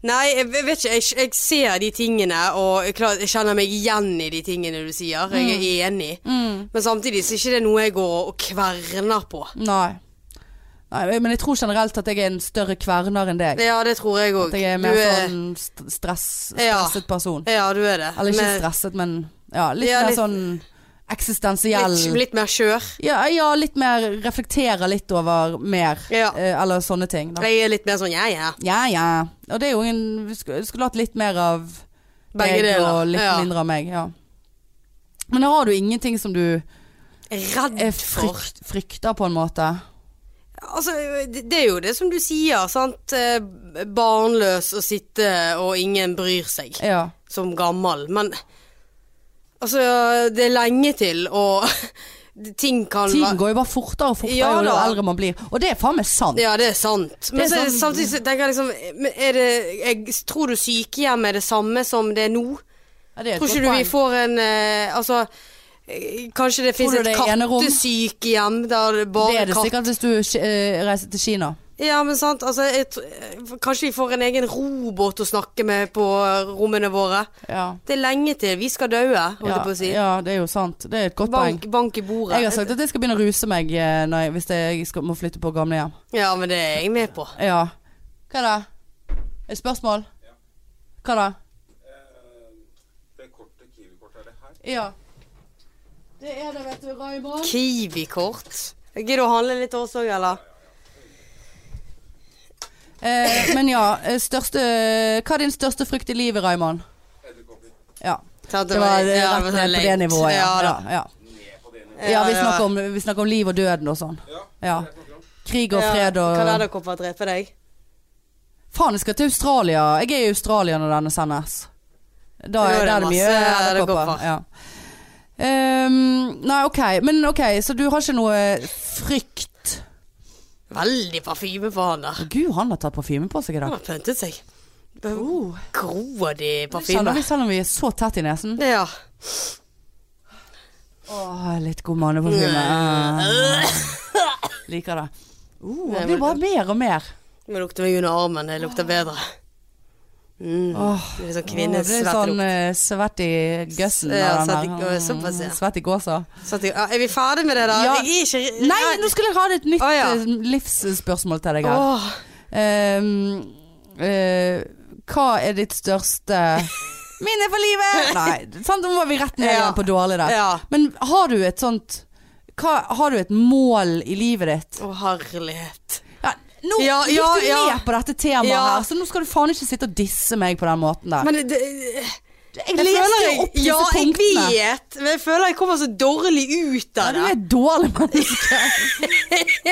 [SPEAKER 2] Nei, jeg jeg vet ikke. Jeg, jeg ser de tingene, og jeg, klar, jeg kjenner meg igjen i de tingene du sier. Jeg er
[SPEAKER 1] Mm.
[SPEAKER 2] enig. Men samtidig så er ikke det noe jeg går og kverner på.
[SPEAKER 1] Nei. Nei. Men jeg tror generelt at jeg er en større kverner enn deg.
[SPEAKER 2] Ja, det tror jeg òg.
[SPEAKER 1] At jeg er mer sånn st- stress,
[SPEAKER 2] Ja.
[SPEAKER 1] stresset person.
[SPEAKER 2] Ja, du er det.
[SPEAKER 1] Eller ikke
[SPEAKER 2] Men
[SPEAKER 1] stresset, men ja, litt
[SPEAKER 2] Ja,
[SPEAKER 1] mer
[SPEAKER 2] litt-
[SPEAKER 1] sånn eksistensiell
[SPEAKER 2] litt, litt mer skjør.
[SPEAKER 1] ja, ja, litt mer reflekterer litt over mer.
[SPEAKER 2] Ja.
[SPEAKER 1] eh, Eller sånne ting. Da.
[SPEAKER 2] Jeg er litt mer sånn ja, ja.
[SPEAKER 1] Ja, ja. Og det er jo ingen Vi skulle, skulle hatt litt mer av
[SPEAKER 2] Begge
[SPEAKER 1] deg
[SPEAKER 2] deler.
[SPEAKER 1] og litt
[SPEAKER 2] Ja.
[SPEAKER 1] mindre av meg. Ja. Men da har du ingenting som du
[SPEAKER 2] Redd
[SPEAKER 1] er
[SPEAKER 2] for
[SPEAKER 1] frykt, frykter, på en måte.
[SPEAKER 2] Altså, det det er jo det som du sier, sant. Eh, Barnløs å sitte og ingen bryr seg
[SPEAKER 1] Ja.
[SPEAKER 2] som gammel. Men altså, det er lenge til, og <laughs> ting kan
[SPEAKER 1] Tiden
[SPEAKER 2] være
[SPEAKER 1] går jo bare fortere og fortere
[SPEAKER 2] Ja
[SPEAKER 1] jo
[SPEAKER 2] da.
[SPEAKER 1] eldre man blir. Og det er faen meg sant.
[SPEAKER 2] Ja, det er sant. Men
[SPEAKER 1] Det er
[SPEAKER 2] så er det
[SPEAKER 1] sant.
[SPEAKER 2] samtidig så tenker jeg liksom men er det, jeg, Tror du sykehjem er det samme som det er nå?
[SPEAKER 1] Ja, det er et
[SPEAKER 2] Tror
[SPEAKER 1] godt
[SPEAKER 2] ikke du vi
[SPEAKER 1] poeng.
[SPEAKER 2] får en eh, Altså, eh, kanskje det fins
[SPEAKER 1] du
[SPEAKER 2] et
[SPEAKER 1] det er enerom?
[SPEAKER 2] kattesykehjem der det bare
[SPEAKER 1] Det er det
[SPEAKER 2] katter
[SPEAKER 1] sikkert hvis du eh, reiser til Kina.
[SPEAKER 2] Ja, men sant. Altså, jeg, tr- kanskje vi får en egen robot å snakke med på eh, rommene våre.
[SPEAKER 1] Ja.
[SPEAKER 2] Det er lenge til. Vi skal daue, holdt jeg
[SPEAKER 1] Ja,
[SPEAKER 2] på å si.
[SPEAKER 1] ja, det er jo sant. Det er et godt poeng.
[SPEAKER 2] Bank, bank i bordet.
[SPEAKER 1] Jeg har sagt at jeg skal begynne å ruse meg eh, når jeg, hvis jeg skal, må flytte på gamlehjem.
[SPEAKER 2] Ja, men det er jeg med på.
[SPEAKER 1] Ja. Hva da? Et spørsmål? Hva da?
[SPEAKER 3] Eh, Det kortet, Kiwi-kortet, er det her?
[SPEAKER 1] Ja. Det er det, vet du, Raymond.
[SPEAKER 2] Kiwi-kort. Gidder du å handle litt også, eller?
[SPEAKER 1] Eh, men ja, eh, største, hva er din største frykt i livet, Raymond?
[SPEAKER 3] Edderkopper.
[SPEAKER 1] Ja.
[SPEAKER 2] Sant,
[SPEAKER 1] Det var eh,
[SPEAKER 2] ja,
[SPEAKER 1] rett
[SPEAKER 2] det var
[SPEAKER 1] ned på det
[SPEAKER 2] leit.
[SPEAKER 1] nivået, ja.
[SPEAKER 2] Ja,
[SPEAKER 1] ja,
[SPEAKER 2] da.
[SPEAKER 1] ja.
[SPEAKER 3] Ned på det nivået.
[SPEAKER 1] ja vi,
[SPEAKER 2] ja.
[SPEAKER 1] snakker om, vi snakker om liv og døden og sånn.
[SPEAKER 3] Ja.
[SPEAKER 1] Ja.
[SPEAKER 3] det er klart, ja.
[SPEAKER 1] Krig og fred
[SPEAKER 2] Kan
[SPEAKER 1] og
[SPEAKER 2] edderkopper drepe deg?
[SPEAKER 1] Faen, jeg skal til Australia. Jeg er i Australia når denne sendes. Da
[SPEAKER 2] Nå
[SPEAKER 1] er,
[SPEAKER 2] er
[SPEAKER 1] der
[SPEAKER 2] det
[SPEAKER 1] er det mye
[SPEAKER 2] masse
[SPEAKER 1] edderkopper.
[SPEAKER 2] edderkopper.
[SPEAKER 1] Ja. Ehm, nei, OK. Men OK, så du har ikke noe frykt?
[SPEAKER 2] Veldig parfyme på han der.
[SPEAKER 1] Gud, han har tatt parfyme på seg i
[SPEAKER 2] Han
[SPEAKER 1] dag.
[SPEAKER 2] har pyntet seg.
[SPEAKER 1] Uh.
[SPEAKER 2] Grådig parfyme.
[SPEAKER 1] Kjenner vi selv om vi er så tett i nesen?
[SPEAKER 2] Ja.
[SPEAKER 1] Åh, litt god manneparfyme. Ah, Liker det. Uh, det blir bare mer og mer.
[SPEAKER 2] Nå lukter meg under armen. Det lukter bedre. Mm.
[SPEAKER 1] Åh,
[SPEAKER 2] Det
[SPEAKER 1] Åh, det
[SPEAKER 2] er sånn
[SPEAKER 1] er sånn
[SPEAKER 2] kvinnesvettelukt.
[SPEAKER 1] eh, svett i gøssen. av
[SPEAKER 2] Ja,
[SPEAKER 1] den
[SPEAKER 2] svett i-
[SPEAKER 1] her. Mm,
[SPEAKER 2] øh, såpass, ja.
[SPEAKER 1] Svett i gåsa.
[SPEAKER 2] Sånn at jeg- Er vi ferdig med det, da?
[SPEAKER 1] Ja.
[SPEAKER 2] Jeg er ikke
[SPEAKER 1] Nei, nå skulle jeg ha et nytt
[SPEAKER 2] Å, ja.
[SPEAKER 1] eh, livsspørsmål til deg her.
[SPEAKER 2] Åh,
[SPEAKER 1] Ehm, eh, hva er ditt største
[SPEAKER 2] <laughs>
[SPEAKER 1] minne for livet? Nei, sant? nå må vi rett ned
[SPEAKER 2] Ja.
[SPEAKER 1] igjen på dårlig der.
[SPEAKER 2] Ja.
[SPEAKER 1] Men har du et sånt hva, Har du et mål i livet ditt?
[SPEAKER 2] Å, herlighet.
[SPEAKER 1] Ja, nå
[SPEAKER 2] Ja, ja,
[SPEAKER 1] gikk du
[SPEAKER 2] ja.
[SPEAKER 1] med på dette temaet
[SPEAKER 2] Ja.
[SPEAKER 1] her, så nå skal du faen ikke sitte og disse meg på den måten der.
[SPEAKER 2] Men det, det
[SPEAKER 1] jeg leste jo opp disse
[SPEAKER 2] ja,
[SPEAKER 1] punktene.
[SPEAKER 2] jeg vet, men jeg føler jeg kommer så dårlig ut
[SPEAKER 1] Ja,
[SPEAKER 2] av
[SPEAKER 1] du er
[SPEAKER 2] det.
[SPEAKER 1] et dårlig
[SPEAKER 2] <laughs>
[SPEAKER 1] menneske.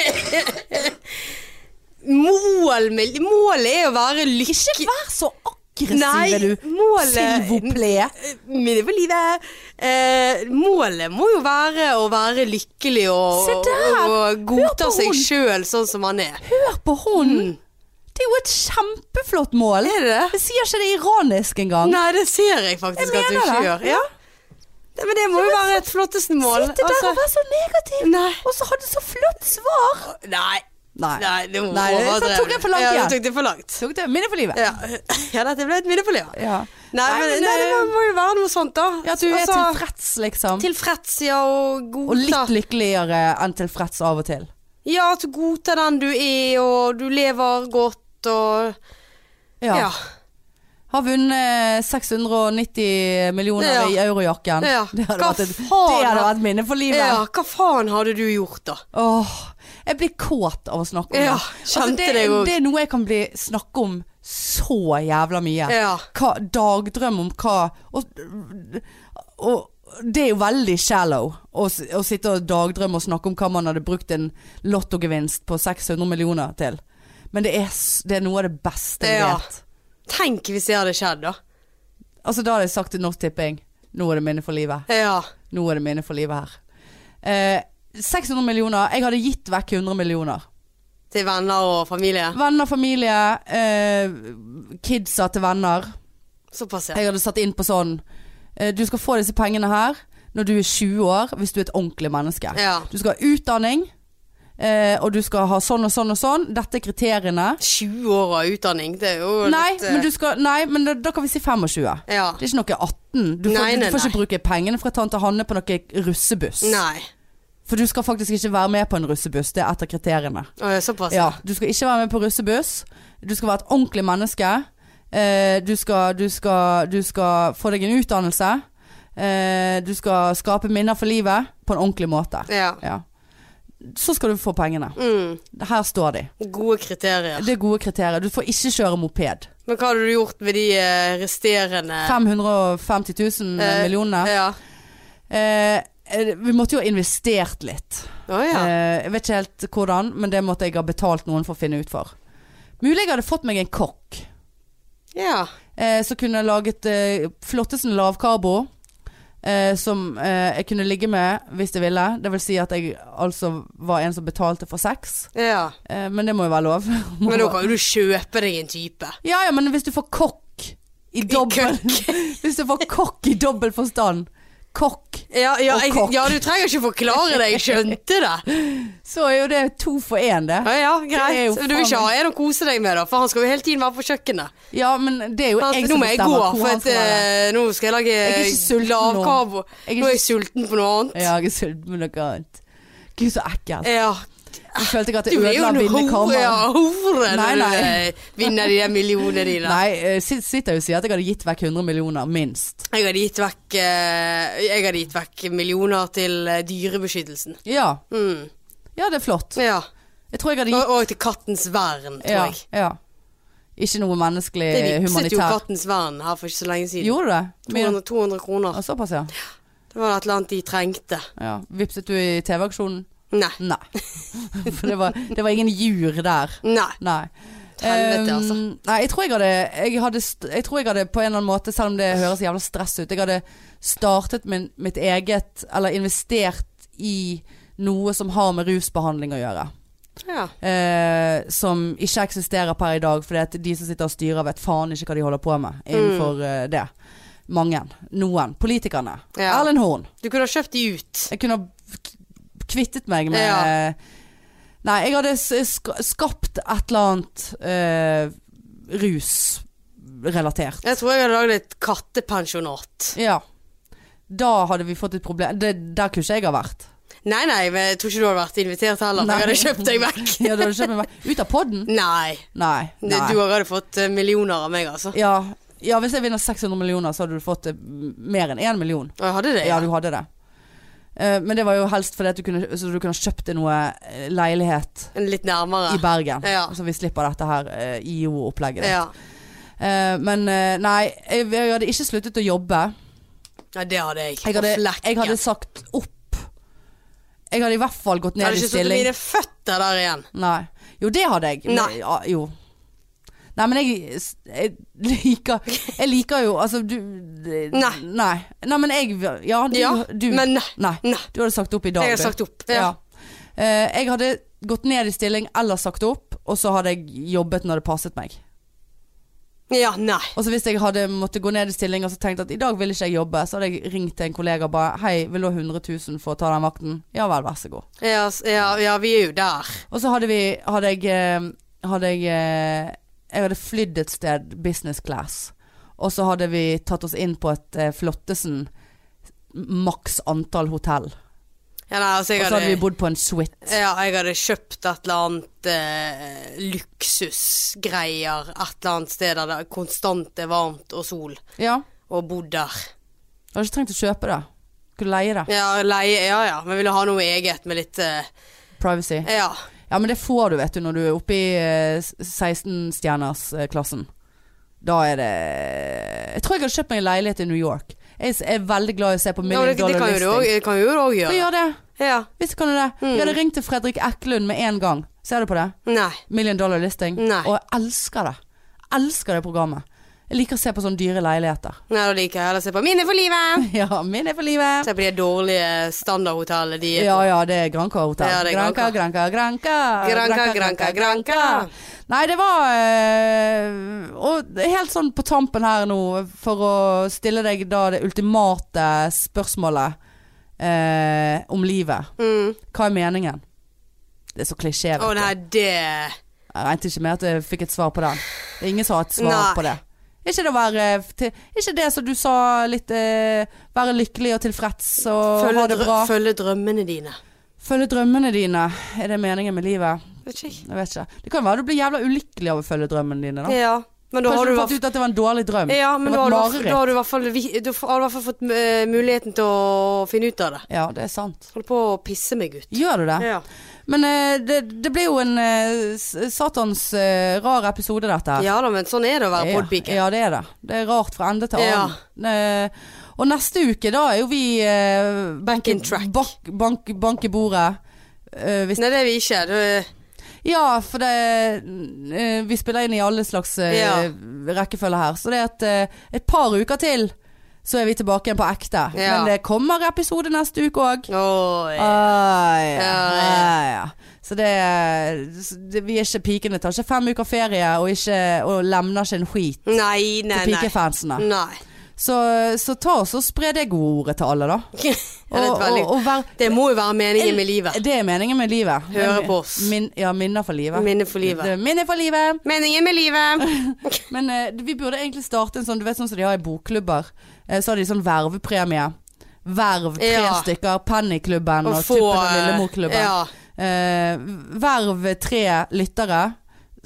[SPEAKER 2] Mål med, målet er å være lykkelig
[SPEAKER 1] Ikke vær så aggressiv,
[SPEAKER 2] Nei,
[SPEAKER 1] er du.
[SPEAKER 2] målet-
[SPEAKER 1] S'il vous plaît.
[SPEAKER 2] Minne for livet. Eh, målet må jo være å være lykkelig og,
[SPEAKER 1] Se der!
[SPEAKER 2] og
[SPEAKER 1] Hør
[SPEAKER 2] godta
[SPEAKER 1] på
[SPEAKER 2] seg
[SPEAKER 1] hun!
[SPEAKER 2] sjøl sånn som man er.
[SPEAKER 1] Hør på hun. Det er jo et kjempeflott mål.
[SPEAKER 2] Mm. Er det det?
[SPEAKER 1] Jeg sier ikke det ironisk engang.
[SPEAKER 2] Nei, det ser jeg faktisk
[SPEAKER 1] Jeg
[SPEAKER 2] at du
[SPEAKER 1] mener
[SPEAKER 2] ikke
[SPEAKER 1] det.
[SPEAKER 2] gjør. Ja. Nei, men det må jo være et flotteste mål.
[SPEAKER 1] Sitte der
[SPEAKER 2] Altså,
[SPEAKER 1] og være så negativ,
[SPEAKER 2] Nei.
[SPEAKER 1] og så hadde så flott svar.
[SPEAKER 2] Nei.
[SPEAKER 1] Nei.
[SPEAKER 2] Nei, det må
[SPEAKER 1] Nei, det-
[SPEAKER 2] overdrevet.
[SPEAKER 1] så tok jeg for langt
[SPEAKER 2] Ja,
[SPEAKER 1] igjen.
[SPEAKER 2] du tok det for langt.
[SPEAKER 1] Tok det minne for livet.
[SPEAKER 2] Ja. ja, dette ble et minne for livet.
[SPEAKER 1] Ja.
[SPEAKER 2] Nei, men, eh, nei, det må, må jo være noe sånt, da.
[SPEAKER 1] ja, at du er
[SPEAKER 2] Altså,
[SPEAKER 1] tilfreds, liksom.
[SPEAKER 2] tilfreds, ja, og godta
[SPEAKER 1] Og litt lykkeligere enn tilfreds av og til.
[SPEAKER 2] Ja, at du godtar den du er, og du lever godt, og
[SPEAKER 1] Ja.
[SPEAKER 2] Ja.
[SPEAKER 1] Har vunnet eh, 690 millioner
[SPEAKER 2] Ja.
[SPEAKER 1] i eurojakken.
[SPEAKER 2] Ja.
[SPEAKER 1] Det hadde
[SPEAKER 2] Hva
[SPEAKER 1] vært et, det
[SPEAKER 2] faen?
[SPEAKER 1] hadde vært minne for livet.
[SPEAKER 2] ja. Hva faen hadde du gjort, da?
[SPEAKER 1] Åh, jeg blir kåt av å snakke om
[SPEAKER 2] Ja,
[SPEAKER 1] det. Altså,
[SPEAKER 2] kjente
[SPEAKER 1] det,
[SPEAKER 2] deg også.
[SPEAKER 1] det er noe jeg kan bli, snakke om så jævla mye.
[SPEAKER 2] Ja.
[SPEAKER 1] Hva, dagdrøm om hva og, og det er jo veldig shallow å, s- å sitte og dagdrømme og snakke om hva man hadde brukt en lottogevinst på 600 millioner til. Men det er, s- det er noe av det beste jeg
[SPEAKER 2] Ja.
[SPEAKER 1] vet.
[SPEAKER 2] Tenk hvis det hadde skjedd, da.
[SPEAKER 1] Altså, da hadde jeg sagt til Norsk Tipping Nå er det minne for livet.
[SPEAKER 2] Ja.
[SPEAKER 1] Nå er det minne for livet her. Eh, 600 millioner. Jeg hadde gitt vekk 100 millioner.
[SPEAKER 2] Til venner og familie.
[SPEAKER 1] Venner, familie, eh, kidsa til venner.
[SPEAKER 2] Såpass, ja.
[SPEAKER 1] Jeg hadde satt inn på sånn eh, Du skal få disse pengene her når du er 20 år, hvis du er et ordentlig menneske.
[SPEAKER 2] Ja.
[SPEAKER 1] Du skal ha utdanning, eh, og du skal ha sånn og sånn og sånn. Dette er kriteriene.
[SPEAKER 2] 20 år av utdanning, det er jo
[SPEAKER 1] Nei,
[SPEAKER 2] litt eh,
[SPEAKER 1] men, du skal, nei, men da, da kan vi si 25.
[SPEAKER 2] Ja.
[SPEAKER 1] Det er ikke noe 18. Du får,
[SPEAKER 2] Nei,
[SPEAKER 1] du
[SPEAKER 2] nei,
[SPEAKER 1] får
[SPEAKER 2] nei.
[SPEAKER 1] ikke bruke pengene fra tante Hanne på noe russebuss.
[SPEAKER 2] Nei.
[SPEAKER 1] For du skal faktisk ikke være med på en russebuss. Det er et av kriteriene.
[SPEAKER 2] Å, ja, såpass.
[SPEAKER 1] Ja, du skal ikke være med på russebuss. Du skal være et ordentlig menneske. Eh, du, skal, du, skal, du skal få deg en utdannelse. Eh, du skal skape minner for livet på en ordentlig måte.
[SPEAKER 2] ja.
[SPEAKER 1] Ja. Så skal du få pengene.
[SPEAKER 2] Mm.
[SPEAKER 1] Her står de.
[SPEAKER 2] Gode kriterier.
[SPEAKER 1] Det er gode kriterier. Du får ikke kjøre moped.
[SPEAKER 2] Men hva hadde du gjort med de eh, resterende
[SPEAKER 1] 550 000
[SPEAKER 2] eh,
[SPEAKER 1] millioner.
[SPEAKER 2] Ja.
[SPEAKER 1] Eh, eh, vi måtte jo ha investert litt.
[SPEAKER 2] Å ja.
[SPEAKER 1] Eh, jeg vet ikke helt hvordan, men det måtte jeg ha betalt noen for å finne ut for. Mulig jeg hadde fått meg en kokk.
[SPEAKER 2] ja.
[SPEAKER 1] Eh, så kunne jeg laget eh, flottesen lavkarbo. Eh, som eh, jeg kunne ligge med hvis jeg ville. Det vil si at jeg altså var en som betalte for sex.
[SPEAKER 2] Ja.
[SPEAKER 1] Eh, men det må jo være lov. <laughs>
[SPEAKER 2] Men da kan jo du kjøpe deg en type.
[SPEAKER 1] Ja ja, men hvis du får kokk i
[SPEAKER 2] <laughs>
[SPEAKER 1] dobbel <laughs> Hvis du får kokk i dobbel forstand. Kokk.
[SPEAKER 2] Ja, ja,
[SPEAKER 1] Og
[SPEAKER 2] jeg,
[SPEAKER 1] kokk.
[SPEAKER 2] ja, du trenger ikke forklare det, jeg skjønte det.
[SPEAKER 1] Så er jo det to for én, det.
[SPEAKER 2] Ja, ja,
[SPEAKER 1] Det er jo
[SPEAKER 2] greit. Men Du vil ikke ha en å kose deg med, da, for han skal jo hele tiden være på kjøkkenet.
[SPEAKER 1] Ja, men det er jo
[SPEAKER 2] Han,
[SPEAKER 1] jeg
[SPEAKER 2] nå
[SPEAKER 1] som
[SPEAKER 2] må jeg gå,
[SPEAKER 1] bestemmer hvor
[SPEAKER 2] for
[SPEAKER 1] han
[SPEAKER 2] at,
[SPEAKER 1] skal være.
[SPEAKER 2] eh, nå skal jeg
[SPEAKER 1] Jeg er ikke
[SPEAKER 2] lage
[SPEAKER 1] sulten nå.
[SPEAKER 2] lavkarbo.
[SPEAKER 1] Jeg er
[SPEAKER 2] Nå er
[SPEAKER 1] ikke-
[SPEAKER 2] jeg sulten på noe annet.
[SPEAKER 1] Ja, jeg er sulten på noe annet. Gud, så ekkelt.
[SPEAKER 2] Ja.
[SPEAKER 1] Jeg følte ikke at
[SPEAKER 2] Du
[SPEAKER 1] jeg
[SPEAKER 2] er jo
[SPEAKER 1] ødela
[SPEAKER 2] en hore, ja,
[SPEAKER 1] vinnerkammeret.
[SPEAKER 2] hore
[SPEAKER 1] Nei,
[SPEAKER 2] når du
[SPEAKER 1] nei.
[SPEAKER 2] eh, vinner de der millionene dine.
[SPEAKER 1] Nei, eh, sit- sitter jeg og sier at jeg hadde gitt vekk 100 millioner, minst.
[SPEAKER 2] Jeg hadde gitt vekk, eh, jeg hadde gitt vekk millioner til eh, dyrebeskyttelsen.
[SPEAKER 1] Ja,
[SPEAKER 2] Mm.
[SPEAKER 1] ja det er flott.
[SPEAKER 2] Ja.
[SPEAKER 1] Jeg tror jeg hadde gitt
[SPEAKER 2] Og, og til Kattens vern, tror
[SPEAKER 1] ja,
[SPEAKER 2] jeg.
[SPEAKER 1] ja. Ikke noe menneskelig
[SPEAKER 2] Det
[SPEAKER 1] eh,
[SPEAKER 2] vipset jo
[SPEAKER 1] humanitær.
[SPEAKER 2] Kattens vern her for ikke så lenge siden.
[SPEAKER 1] Gjorde du det? Mye.
[SPEAKER 2] 200, 200 kroner.
[SPEAKER 1] Ja, såpass, ja.
[SPEAKER 2] Det var et eller annet de trengte.
[SPEAKER 1] ja. Vipset du i TV-aksjonen?
[SPEAKER 2] Nei. <laughs>
[SPEAKER 1] Nei. For det var, det var ingen jur der.
[SPEAKER 2] Nei.
[SPEAKER 1] Nei.
[SPEAKER 2] Helvete, altså.
[SPEAKER 1] Um, Nei, jeg tror jeg, hadde, jeg, hadde, st- jeg tror jeg hadde på en eller annen måte, selv om det høres jævla stress ut Jeg hadde startet min, mitt eget, eller investert i noe som har med rusbehandling å gjøre.
[SPEAKER 2] Ja.
[SPEAKER 1] Eh, som ikke eksisterer per i dag, fordi at de som sitter og styrer vet faen ikke hva de holder på med
[SPEAKER 2] Mm.
[SPEAKER 1] innenfor eh, det. Mange. Noen. Politikerne.
[SPEAKER 2] Ja.
[SPEAKER 1] Erlend Horn.
[SPEAKER 2] Du kunne ha kjøpt de ut.
[SPEAKER 1] Jeg kunne ha k- kvittet meg med eh,
[SPEAKER 2] Ja.
[SPEAKER 1] Nei, jeg hadde s- sk- skapt et eller annet eh, rusrelatert.
[SPEAKER 2] Jeg tror jeg hadde lagd et kattepensjonat.
[SPEAKER 1] Ja. Da hadde vi fått et problem. Det, der kunne ikke jeg ha vært.
[SPEAKER 2] Nei, nei, men jeg tror ikke du hadde vært invitert heller. for Jeg hadde kjøpt deg vekk.
[SPEAKER 1] <laughs> Ja, du hadde kjøpt meg vekk. Ut av podden?
[SPEAKER 2] Nei.
[SPEAKER 1] Nei.
[SPEAKER 2] <laughs> Det-
[SPEAKER 1] nei.
[SPEAKER 2] Du hadde fått eh, millioner av meg, altså.
[SPEAKER 1] Ja. ja, hvis jeg vinner 600 millioner, så hadde du fått eh, mer enn én million.
[SPEAKER 2] Og jeg hadde det.
[SPEAKER 1] Ja, du hadde det. Eh, Men det var jo helst fordi at du kunne, så du kunne ha kjøpt deg noe eh, leilighet
[SPEAKER 2] En Litt nærmere.
[SPEAKER 1] i Bergen.
[SPEAKER 2] Ja.
[SPEAKER 1] Så vi slipper dette her eh, IO-opplegget. ditt.
[SPEAKER 2] Ja.
[SPEAKER 1] Eh, men eh, nei, jeg, jeg hadde ikke sluttet å jobbe.
[SPEAKER 2] ja, det hadde jeg.
[SPEAKER 1] Jeg hadde,
[SPEAKER 2] På flekken.
[SPEAKER 1] jeg hadde sagt opp. Jeg hadde i hvert fall gått
[SPEAKER 2] Jeg
[SPEAKER 1] ned i
[SPEAKER 2] hadde ikke stått med
[SPEAKER 1] stilling.
[SPEAKER 2] mine føtter der igjen.
[SPEAKER 1] Nei. Jo, det hadde jeg. Men-
[SPEAKER 2] Nei.
[SPEAKER 1] Ja, jo. Nei, men jeg, jeg liker Jeg liker jo Altså, du
[SPEAKER 2] Nei.
[SPEAKER 1] Nei, nei men jeg Ja, du,
[SPEAKER 2] Ja,
[SPEAKER 1] du
[SPEAKER 2] men nei.
[SPEAKER 1] Nei.
[SPEAKER 2] Nei.
[SPEAKER 1] Du hadde sagt opp i dag.
[SPEAKER 2] Jeg hadde
[SPEAKER 1] du.
[SPEAKER 2] sagt opp.
[SPEAKER 1] Ja.
[SPEAKER 2] Ja.
[SPEAKER 1] Eh, jeg hadde gått ned i stilling eller sagt opp, og så hadde jeg jobbet når det passet meg.
[SPEAKER 2] Ja, nei.
[SPEAKER 1] Og så hvis jeg hadde måttet gå ned i stilling og så tenkt at i dag vil ikke jeg jobbe, så hadde jeg ringt til en kollega og bare Hei, vil du ha 100 000 for å ta den vakten? Ja vel, vær så god.
[SPEAKER 2] Ja, s- ja, ja, vi er jo der.
[SPEAKER 1] Og så hadde vi Hadde jeg eh, Hadde jeg eh, Jeg hadde flydd et sted business class. Og så hadde vi tatt oss inn på et eh, Flottesen maks antall hotell. Og
[SPEAKER 2] Ja, nei, altså, jeg
[SPEAKER 1] så hadde vi bodd på en suite.
[SPEAKER 2] Ja, jeg hadde kjøpt et eller annet eh, luksusgreier et eller annet sted der det konstant er varmt og sol,
[SPEAKER 1] Ja.
[SPEAKER 2] og bodd der.
[SPEAKER 1] Jeg hadde ikke trengt å kjøpe det. Kunne leie det.
[SPEAKER 2] Ja, leie, ja ja, men ville ha noe eget med litt eh,
[SPEAKER 1] Privacy.
[SPEAKER 2] Ja.
[SPEAKER 1] Ja, men det får du, vet du, når du er oppe i eh, 16-stjerners-klassen. eh, Da er det Jeg tror jeg hadde kjøpt meg en leilighet i New York. Jeg s- er veldig glad i å se på
[SPEAKER 2] ja men
[SPEAKER 1] Million
[SPEAKER 2] det, det
[SPEAKER 1] Dollar
[SPEAKER 2] kan jo du òg
[SPEAKER 1] Listing.
[SPEAKER 2] kan jo du òg
[SPEAKER 1] Ja,
[SPEAKER 2] gjøre.
[SPEAKER 1] gjør det.
[SPEAKER 2] Ja.
[SPEAKER 1] Visst kan du det.
[SPEAKER 2] Mm.
[SPEAKER 1] Jeg hadde ringt til Fredrik Eklund med en gang. Ser du på det?
[SPEAKER 2] Nei.
[SPEAKER 1] Million Dollar Listing.
[SPEAKER 2] Nei.
[SPEAKER 1] Og jeg elsker det. Elsker det programmet. Jeg liker å se på sånne dyre leiligheter. <laughs>
[SPEAKER 2] Nei, da liker jeg heller å se på Mine for livet!
[SPEAKER 1] Ja, min er for livet.
[SPEAKER 2] Se på de dårlige standardhotellene de er
[SPEAKER 1] Ja ja, det er Granca hotell.
[SPEAKER 2] Ja, det er
[SPEAKER 1] Granca, Granca, Granca.
[SPEAKER 2] Granca, Granca, Granca.
[SPEAKER 1] Nei, det var eh, Og helt sånn på tampen her nå, for å stille deg da det ultimate spørsmålet eh, om livet.
[SPEAKER 2] Mm.
[SPEAKER 1] Hva er meningen? Det er så klisjé. vet
[SPEAKER 2] Å
[SPEAKER 1] du.
[SPEAKER 2] nei, det
[SPEAKER 1] Jeg regnet ikke med at jeg fikk et svar på den. Det er ingen som har et svar
[SPEAKER 2] Nei.
[SPEAKER 1] på det. Er Ikke det, å være, til, er ikke det som du sa litt eh, Være lykkelig og tilfreds og
[SPEAKER 2] Følge,
[SPEAKER 1] ha det
[SPEAKER 2] drø
[SPEAKER 1] bra.
[SPEAKER 2] følge drømmene dine.
[SPEAKER 1] Følge drømmene dine. Er det meningen med livet?
[SPEAKER 2] Vet ikke jeg.
[SPEAKER 1] Jeg vet ikke. Det kan jo være du blir jævla ulykkelig av å følge drømmene dine. Da.
[SPEAKER 2] Ja. Men da
[SPEAKER 1] Kanskje
[SPEAKER 2] har
[SPEAKER 1] du
[SPEAKER 2] du
[SPEAKER 1] fant ut at det var en dårlig drøm.
[SPEAKER 2] Ja, men
[SPEAKER 1] det
[SPEAKER 2] da har,
[SPEAKER 1] var et
[SPEAKER 2] du, i hvert-
[SPEAKER 1] mareritt.
[SPEAKER 2] da har du i hvert fall, vi- du har du i hvert fall fått eh, muligheten til å finne ut av det.
[SPEAKER 1] Ja, det er sant.
[SPEAKER 2] Holder på å pisse meg ut.
[SPEAKER 1] Gjør du det?
[SPEAKER 2] Ja.
[SPEAKER 1] Men eh, det, det blir jo en eh, s- satans eh, rar episode, dette her.
[SPEAKER 2] ja da, men sånn er det å være
[SPEAKER 1] Ja,
[SPEAKER 2] podpike.
[SPEAKER 1] Ja, det er det. Det er rart fra ende til
[SPEAKER 2] Ja.
[SPEAKER 1] annen. Eh, og neste uke, da er jo vi eh,
[SPEAKER 2] Back in track.
[SPEAKER 1] Bak, bank, bank i bordet. Eh, hvis,
[SPEAKER 2] Nei, det er vi ikke. Det,
[SPEAKER 1] ja, for det eh, Vi spiller inn i alle slags eh,
[SPEAKER 2] Ja.
[SPEAKER 1] rekkefølge her. Så det er et, eh, et par uker til, så er vi tilbake igjen på ekte.
[SPEAKER 2] Ja.
[SPEAKER 1] Men det kommer episode neste uke òg.
[SPEAKER 2] Åh, ja.
[SPEAKER 1] Ah, ja.
[SPEAKER 2] Ja, ja.
[SPEAKER 1] Ah, ja. Så det, det Vi er ikke pikene. Tar ikke fem uker ferie og, ikke, og lemner ikke en skit
[SPEAKER 2] Nei, nei,
[SPEAKER 1] til
[SPEAKER 2] nei.
[SPEAKER 1] pikefansene.
[SPEAKER 2] Nei. <laughs>
[SPEAKER 1] Så, så ta oss og spre det gode ordet til alle, da.
[SPEAKER 2] Det, er et veldig,
[SPEAKER 1] vær,
[SPEAKER 2] det må jo være meningen med livet.
[SPEAKER 1] det er meningen med livet.
[SPEAKER 2] Høre på oss.
[SPEAKER 1] Min, ja, minner for livet.
[SPEAKER 2] Minne for
[SPEAKER 1] Det
[SPEAKER 2] livet.
[SPEAKER 1] er Minner for livet.
[SPEAKER 2] Meningen med livet!
[SPEAKER 1] Men eh, vi burde egentlig starte en sånn Du vet sånn som de har i bokklubber. Eh, så har de sånn vervepremie. Verv tre
[SPEAKER 2] Ja.
[SPEAKER 1] stykker. Pennyklubben og,
[SPEAKER 2] Å
[SPEAKER 1] og
[SPEAKER 2] få
[SPEAKER 1] Tuppen og
[SPEAKER 2] eh,
[SPEAKER 1] Lillemorklubben.
[SPEAKER 2] Ja.
[SPEAKER 1] Eh, verv tre lyttere.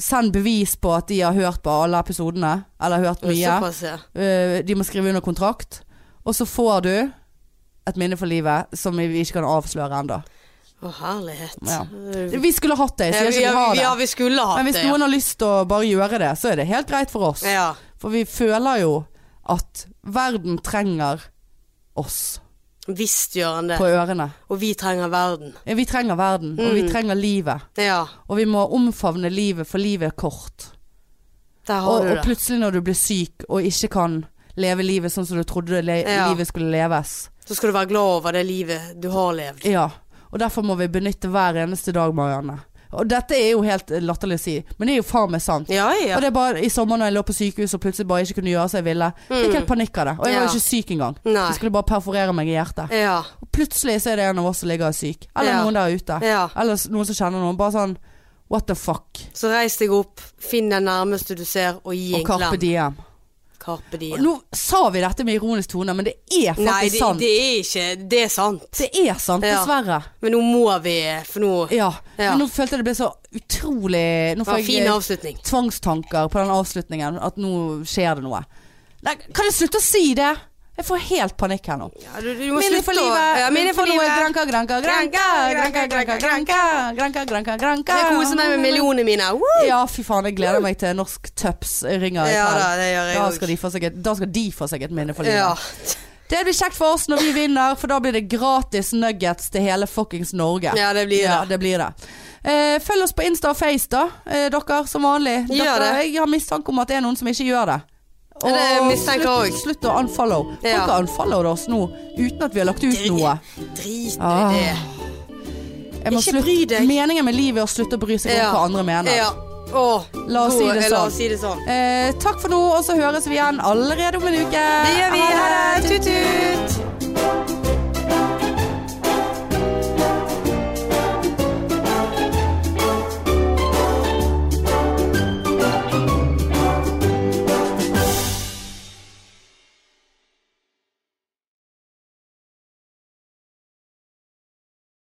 [SPEAKER 1] Send bevis på at de har hørt på alle episodene. Eller hørt mye.
[SPEAKER 2] Såpass, ja.
[SPEAKER 1] Eh, De må skrive under kontrakt Og så får du et minne for livet Som vi ikke kan avsløre enda
[SPEAKER 2] Å, herlighet.
[SPEAKER 1] Ja.
[SPEAKER 2] Eh,
[SPEAKER 1] Vi skulle hatt det, så
[SPEAKER 2] Ja,
[SPEAKER 1] jeg
[SPEAKER 2] vi,
[SPEAKER 1] ikke
[SPEAKER 2] ja,
[SPEAKER 1] har
[SPEAKER 2] vi- ja,
[SPEAKER 1] det
[SPEAKER 2] vi skulle hatt
[SPEAKER 1] Men
[SPEAKER 2] det.
[SPEAKER 1] hvis
[SPEAKER 2] ja.
[SPEAKER 1] noen har lyst til å bare gjøre det Så er det helt greit for oss
[SPEAKER 2] Ja.
[SPEAKER 1] For vi føler jo at verden trenger oss
[SPEAKER 2] Visst gjør han det.
[SPEAKER 1] på ørene
[SPEAKER 2] Og vi trenger verden.
[SPEAKER 1] Ja,
[SPEAKER 2] Mm.
[SPEAKER 1] Vi trenger verden, og vi trenger livet
[SPEAKER 2] Ja.
[SPEAKER 1] Og vi må omfavne livet, for livet er kort
[SPEAKER 2] Der har
[SPEAKER 1] Og,
[SPEAKER 2] du
[SPEAKER 1] og
[SPEAKER 2] det.
[SPEAKER 1] plutselig når du blir syk og ikke kan leve livet sånn som du trodde det le
[SPEAKER 2] Ja.
[SPEAKER 1] livet skulle leves.
[SPEAKER 2] Så skal du være glad over det livet du har levd.
[SPEAKER 1] Ja, og derfor må vi benytte hver eneste dag, Marianne. Og dette er jo helt latterlig å si, men det er jo faen meg sant.
[SPEAKER 2] Ja, ja.
[SPEAKER 1] Og det er bare i sommer når jeg lå på sykehus og plutselig bare ikke kunne gjøre som jeg ville. Fikk helt panikk av det. Og jeg var
[SPEAKER 2] Mm. Ja.
[SPEAKER 1] jo ikke syk engang.
[SPEAKER 2] Nei.
[SPEAKER 1] Jeg skulle bare perforere meg i hjertet.
[SPEAKER 2] Ja.
[SPEAKER 1] Og plutselig så er det en av oss som ligger og er syk. Eller
[SPEAKER 2] Ja.
[SPEAKER 1] noen der ute.
[SPEAKER 2] ja.
[SPEAKER 1] Eller s- noen som kjenner noen. Bare sånn what the fuck.
[SPEAKER 2] Så reis deg opp, finn den nærmeste du ser, og gi
[SPEAKER 1] Og
[SPEAKER 2] en
[SPEAKER 1] Carpe
[SPEAKER 2] klem.
[SPEAKER 1] Diem.
[SPEAKER 2] Carpe
[SPEAKER 1] Og
[SPEAKER 2] diem.
[SPEAKER 1] Nå sa vi dette med ironisk tone, men det er faktisk
[SPEAKER 2] Nei, det,
[SPEAKER 1] sant.
[SPEAKER 2] det er ikke Det er sant.
[SPEAKER 1] Det er sant,
[SPEAKER 2] Ja.
[SPEAKER 1] dessverre.
[SPEAKER 2] Men nå må vi For nå Det
[SPEAKER 1] Ja.
[SPEAKER 2] Ja.
[SPEAKER 1] Men nå følte jeg det ble så utrolig Nå
[SPEAKER 2] var
[SPEAKER 1] får
[SPEAKER 2] en fin
[SPEAKER 1] jeg
[SPEAKER 2] avslutning.
[SPEAKER 1] tvangstanker på den avslutningen. At nå skjer det noe. Nei, kan jeg slutte å si det? Jeg får helt panikk her nå.
[SPEAKER 2] Ja, du, du må
[SPEAKER 1] Minne for
[SPEAKER 2] slutte å-
[SPEAKER 1] livet.
[SPEAKER 2] Ja, minne for livet.
[SPEAKER 1] Granka, granka, granka. Granka, granka, granka. Granka, granka, granka.
[SPEAKER 2] Jeg koser meg med millionene mine. Woo!
[SPEAKER 1] Ja, fy faen. Jeg gleder meg til Norsk Tups ringer i
[SPEAKER 2] Ja da,
[SPEAKER 1] kveld.
[SPEAKER 2] det gjør jeg
[SPEAKER 1] Da
[SPEAKER 2] også.
[SPEAKER 1] skal de få seg et, da skal de få seg et minne for livet.
[SPEAKER 2] Ja.
[SPEAKER 1] Det blir kjekt for oss når vi vinner, for da blir det gratis nuggets til hele fuckings Norge.
[SPEAKER 2] Ja, det blir det.
[SPEAKER 1] Ja, blir det. Eh, følg oss på Insta og Face, da. Eh, dere, som vanlig.
[SPEAKER 2] Gjør
[SPEAKER 1] dere,
[SPEAKER 2] det.
[SPEAKER 1] Jeg har mistanke om at det er noen som ikke gjør det.
[SPEAKER 2] Ja, det mistenker jeg
[SPEAKER 1] slutt,
[SPEAKER 2] også.
[SPEAKER 1] slutt å unfollow.
[SPEAKER 2] Ja.
[SPEAKER 1] Folk har unfollowet oss nå uten at vi har lagt ut noe.
[SPEAKER 2] Drit nå
[SPEAKER 1] Ah,
[SPEAKER 2] i det.
[SPEAKER 1] Jeg må
[SPEAKER 2] ikke
[SPEAKER 1] slutte-
[SPEAKER 2] bry deg.
[SPEAKER 1] Meningen med livet er å slutte å bry seg om
[SPEAKER 2] Ja.
[SPEAKER 1] hva andre mener.
[SPEAKER 2] Ja. Åh,
[SPEAKER 1] La oss si
[SPEAKER 2] god-
[SPEAKER 1] det
[SPEAKER 2] La
[SPEAKER 1] sånn.
[SPEAKER 2] oss si det sånn.
[SPEAKER 1] Eh, takk for nå, og så høres vi igjen allerede om en uke.
[SPEAKER 2] Det gjør vi.
[SPEAKER 1] Ha
[SPEAKER 2] Ha det. Tut-tut.